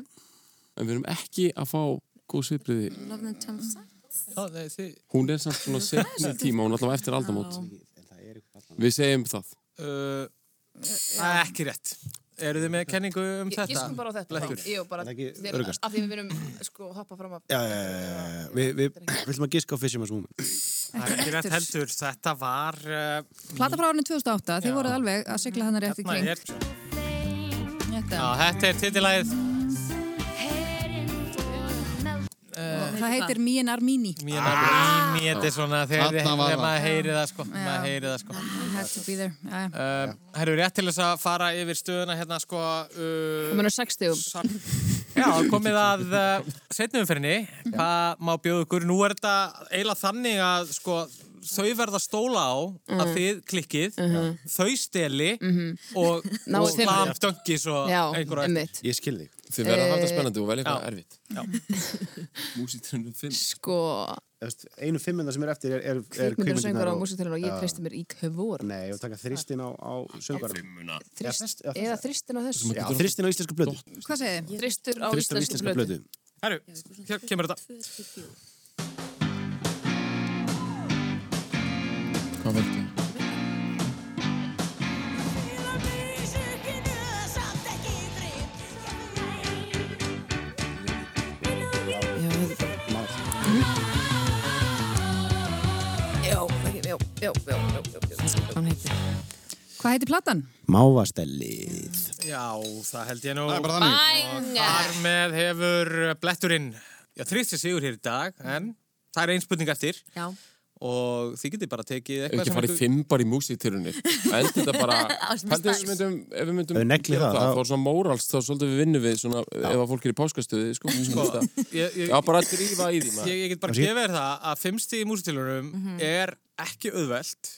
En við erum ekki að fá góð svipriði. Love and Time Já, nei, þið Hún er samt svona setni tíma, hún er alltaf eftir aldamót. Við segjum það. Eh, Uh, Það er ekki rétt Eru þið með kenningu um Ég þetta? giskum bara á þetta. Blettur. Jú, bara, Það er ekki þeir- öruggast. af því við verum sko hoppa fram að... Já, já, já, já, já. Við vi, viljum að giska á Fisherman's Woman. Það er ekki rétt heldur, þetta var uh, Plata frá árinu 2008, þið voruð alveg að sigla hann rétt í maður kring er- Já, Þetta. þetta er titillæð Og Það Hérna. heitir Me and Armini Mér ah! þetta er svona þegar Þarna þið- var þegar það. maður heyri það sko, Já. maður heyri það sko. I have to be there Jæja. Um, Herru, rétt til þess að fara yfir stöðuna hérna sko uh, Kominu 60 Já, komið að uh, setnum umferinni, hvað má bjóða ykkur nú er þetta eiginlega þannig að sko, þau verða stóla á að Mhm. þið klikkið, þau steli og, Náið og þeim. slam döngis og Já, einhverja einmitt. Ég skil þig. Þið verða að halda Eh, spennandi og velja eitthvað já. erfitt. Músitrunum 5. Sko, Eftir, einu fimmunda sem er eftir er, er, er kvikmyndir og söngur á músitilun og ég Já. treysti mér í kvor Nei, ég vil taka þristin á, á söngarum. Þrist, eða þristin á þessu Já, þristin á íslensku blödu. Hvað segið þið? Þristur á Þristin á íslensku íslensku blödu blödu. Herru, hér kemur þetta Hvað verður þetta? Já, ok, já, já, já, já, já, já Hvað heitir? Hvað heitir platan? Mávastellið. Já, það held ég nú Það er bara Og þar með hefur bletturinn Já, þrýst sér sigur hér í dag En það er ein spurning eftir Já, Og þið getið bara tekið Ef eitthvað ekki að fara í ykkur- 5 bara í músitrunni. Eldi þetta bara... Á sem Pældi stæls. við myndum... Ef við Ef myndum... við negli gera það, þá- Þá er svona móralst, þá svolítið við vinnum við svona... Ef að fólk er í páskastöði, sko. sko ég, ég, Já, bara að drífa í því, maður. ég, ég get bara Kannski- gefið þér það að fimmsti í músitilunum Mhm. er ekki auðvelt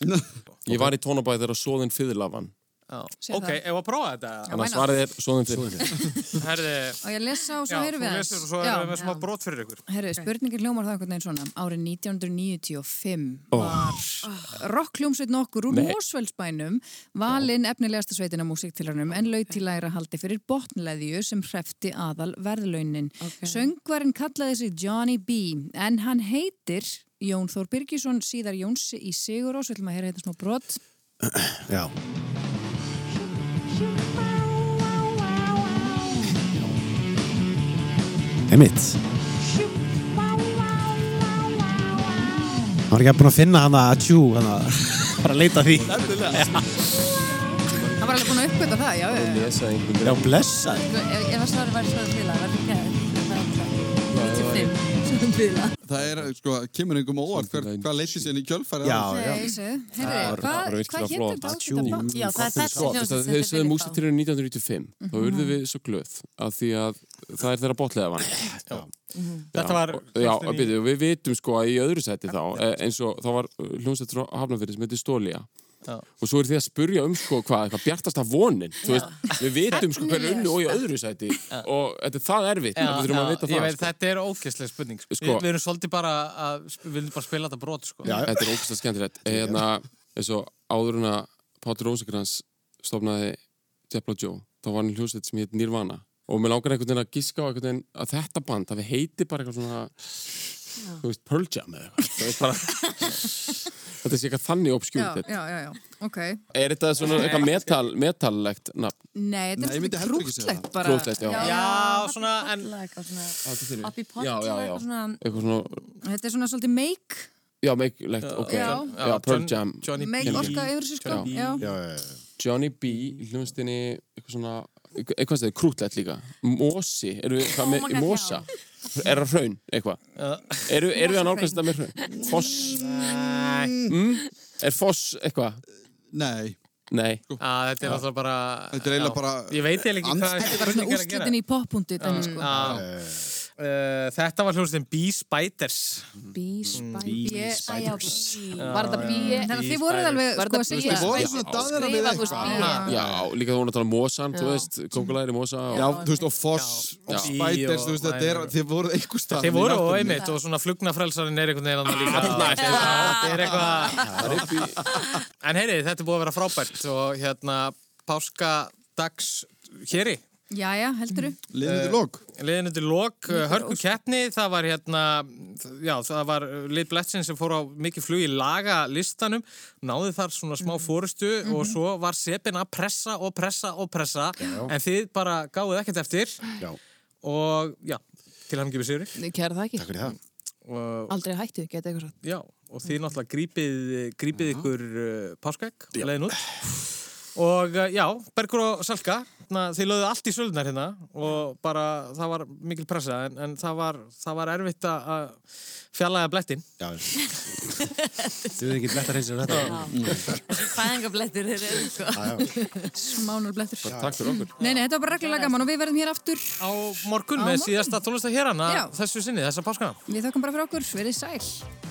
Ég var í tónabæði þegar svoðin fyrirlafan. Já. Sér Ok, það. ef að prófa þetta Þannig why að not? svarið er svoðin fyrirlafan. Herði, Og ég lesa já, og svo þú heyrum við lesur og svo erum við með smá brot fyrir ykkur Herru, spurningin hljómar það einhvern veginn svona. Árið 1995 var rockkljómsveit nokkur úr Nei. Mósvöldsbænum valinn efnilegasta sveitina músiktilunum en laut til læra haldi fyrir botnleðju sem hrefti aðal verðlaunin. Söngvarinn kallaði sig Johnny B. en hann heitir Jón Þór Birgisson síðar Jóns í Sigur og svolítið maður heyra þetta smá brot. Já. Einmitt. Hann var ekki að búin að finna hann að tjú, hann að bara að leita að því. Hann var alveg búin að uppgöta það, já, já, já. Lesa É einhvern Já, blessa. Sko, ef, ef að svarið var svarið til að verður ekki að það er það 95 sem bila. Það er, sko, kemur einhverjum óvart hver, hvað leysi sér í kjölfæri Já, Já, það er þessi hljómsveit Þegar sögðu músitýrinu 1995 þá Mhm. urðum við svo glöð að því að það er þeirra botlega vann Já, Þetta var og- Já, fyrstu ný- byrju, og við vitum sko að í öðru sæti þá eh, eins og þá var hljómsveit frá Hafnarfyrir sem heitir Stólia Já. og svo er því að spurja um sko hvað, hvað bjartasta vonin þú veist, við vitum sko hver unnu og í öðru sæti og þetta er það erfitt Já, við þurfum að já, vita ég það veit, sko. Þetta er ógæslega spurning sko. Sko- Við, við erum svolítið bara að sp- við viljum bara spila þetta brot sko. Þetta er ógæslega skemmtilegt Eðna, eins og áður en að Pátur Rósakrans stofnaði Jepla Joe, þá var hann í hljómsveit sem heit Nirvana og mér langar einhvern veginn að giska á einhvern veginn að þetta band, að við heiti bara eitthvað svona þú veist, Pearl Jam eða eitthvað þú veist, bara, þetta sé eitthvað þannig Já, obskjúrt já, já, já, ok. er þetta svona eitthvað metal, metallegt nafn? Nei, þetta er svolítið krútlegt bara. Krúttlegt, já. Já, svona, en... Upp í já, já, já, eitthvað svona- eitthvað svona Þetta er svona svolítið make, já, meiklegt, ok, Já. já, Pearl Jam make orka yfir þessu sko. Johnny B. Já, Johnny B í hljómsdýni eitthvað svona, eitthvað sem er krútlegt líka Mosi, eru við, hvað með, Oh my God, Mosa er það hraun, eitthvað eru, eru við að nálgast þetta með hraun Foss mm? er Foss eitthvað Nei Nei Ah, að, Þetta er alltaf bara Þetta er eiginlega já. bara- Ég veit eiginlega ekki hvað þetta er bara svona úrslitin í poppundi Mm. dæmi sko. Já. Uh, þetta var hljómsveitin B-Spiders Mm. B-Spiders B-Spiders. Var þetta B- Þannig að þið voruð alveg Var sko þetta að B- segja Þið voruð svona daðrar við Skrifa, þú eitthvað. veist, B- Já, líka þú voru að tala um Mosan, þú Já. veist, kókulæri Mosa og... Já, þú veist, og Foss og Spiders, þú veist, þetta er, þið voruð einhver stað Þeir voru og einmitt og svona flugnafrælsarinn er einhvern veginn annar líka Þarna er Þetta er eitthvað En heyri, þetta er búið að vera frábært og hérna páskadags héri Já, já, heldur þú? Liðin undir lók Liðin Eh, undir lók, hörku keppni það var hérna, já það var Lid Bletsin sem fór á mikið flug í laga listanum, náði þar svona smá Mhm. fórustu og svo var sepin að pressa og pressa og pressa en þið bara gáðuð ekkert eftir já. og já, til hann gefið sigur Nei, Kæra það ekki. Takk fyrir það og, Aldrei hættu, geta eitthvað svo. já, og þið náttúrulega grípið, Mhm. grípið ykkur uh, páskæk og leiðin út og uh, já, Bergur og Salka na, þið lögðu allt í sölunar hérna og bara það var mikil pressa en, en það, var, það var erfitt að- að fjallaða blettin já, Þið verður ekki blettar eins og þetta Fæðingablettir þeir eru sko. Smánur blettur. Takk fyrir okkur. Nei, nei, þetta var bara reglulega gaman og við verðum hér aftur. Á morgun með síðasta tónlista hér hana Já. þessu sinni, þessa páskana Við þökkum bara fyrir okkur, verið sæl.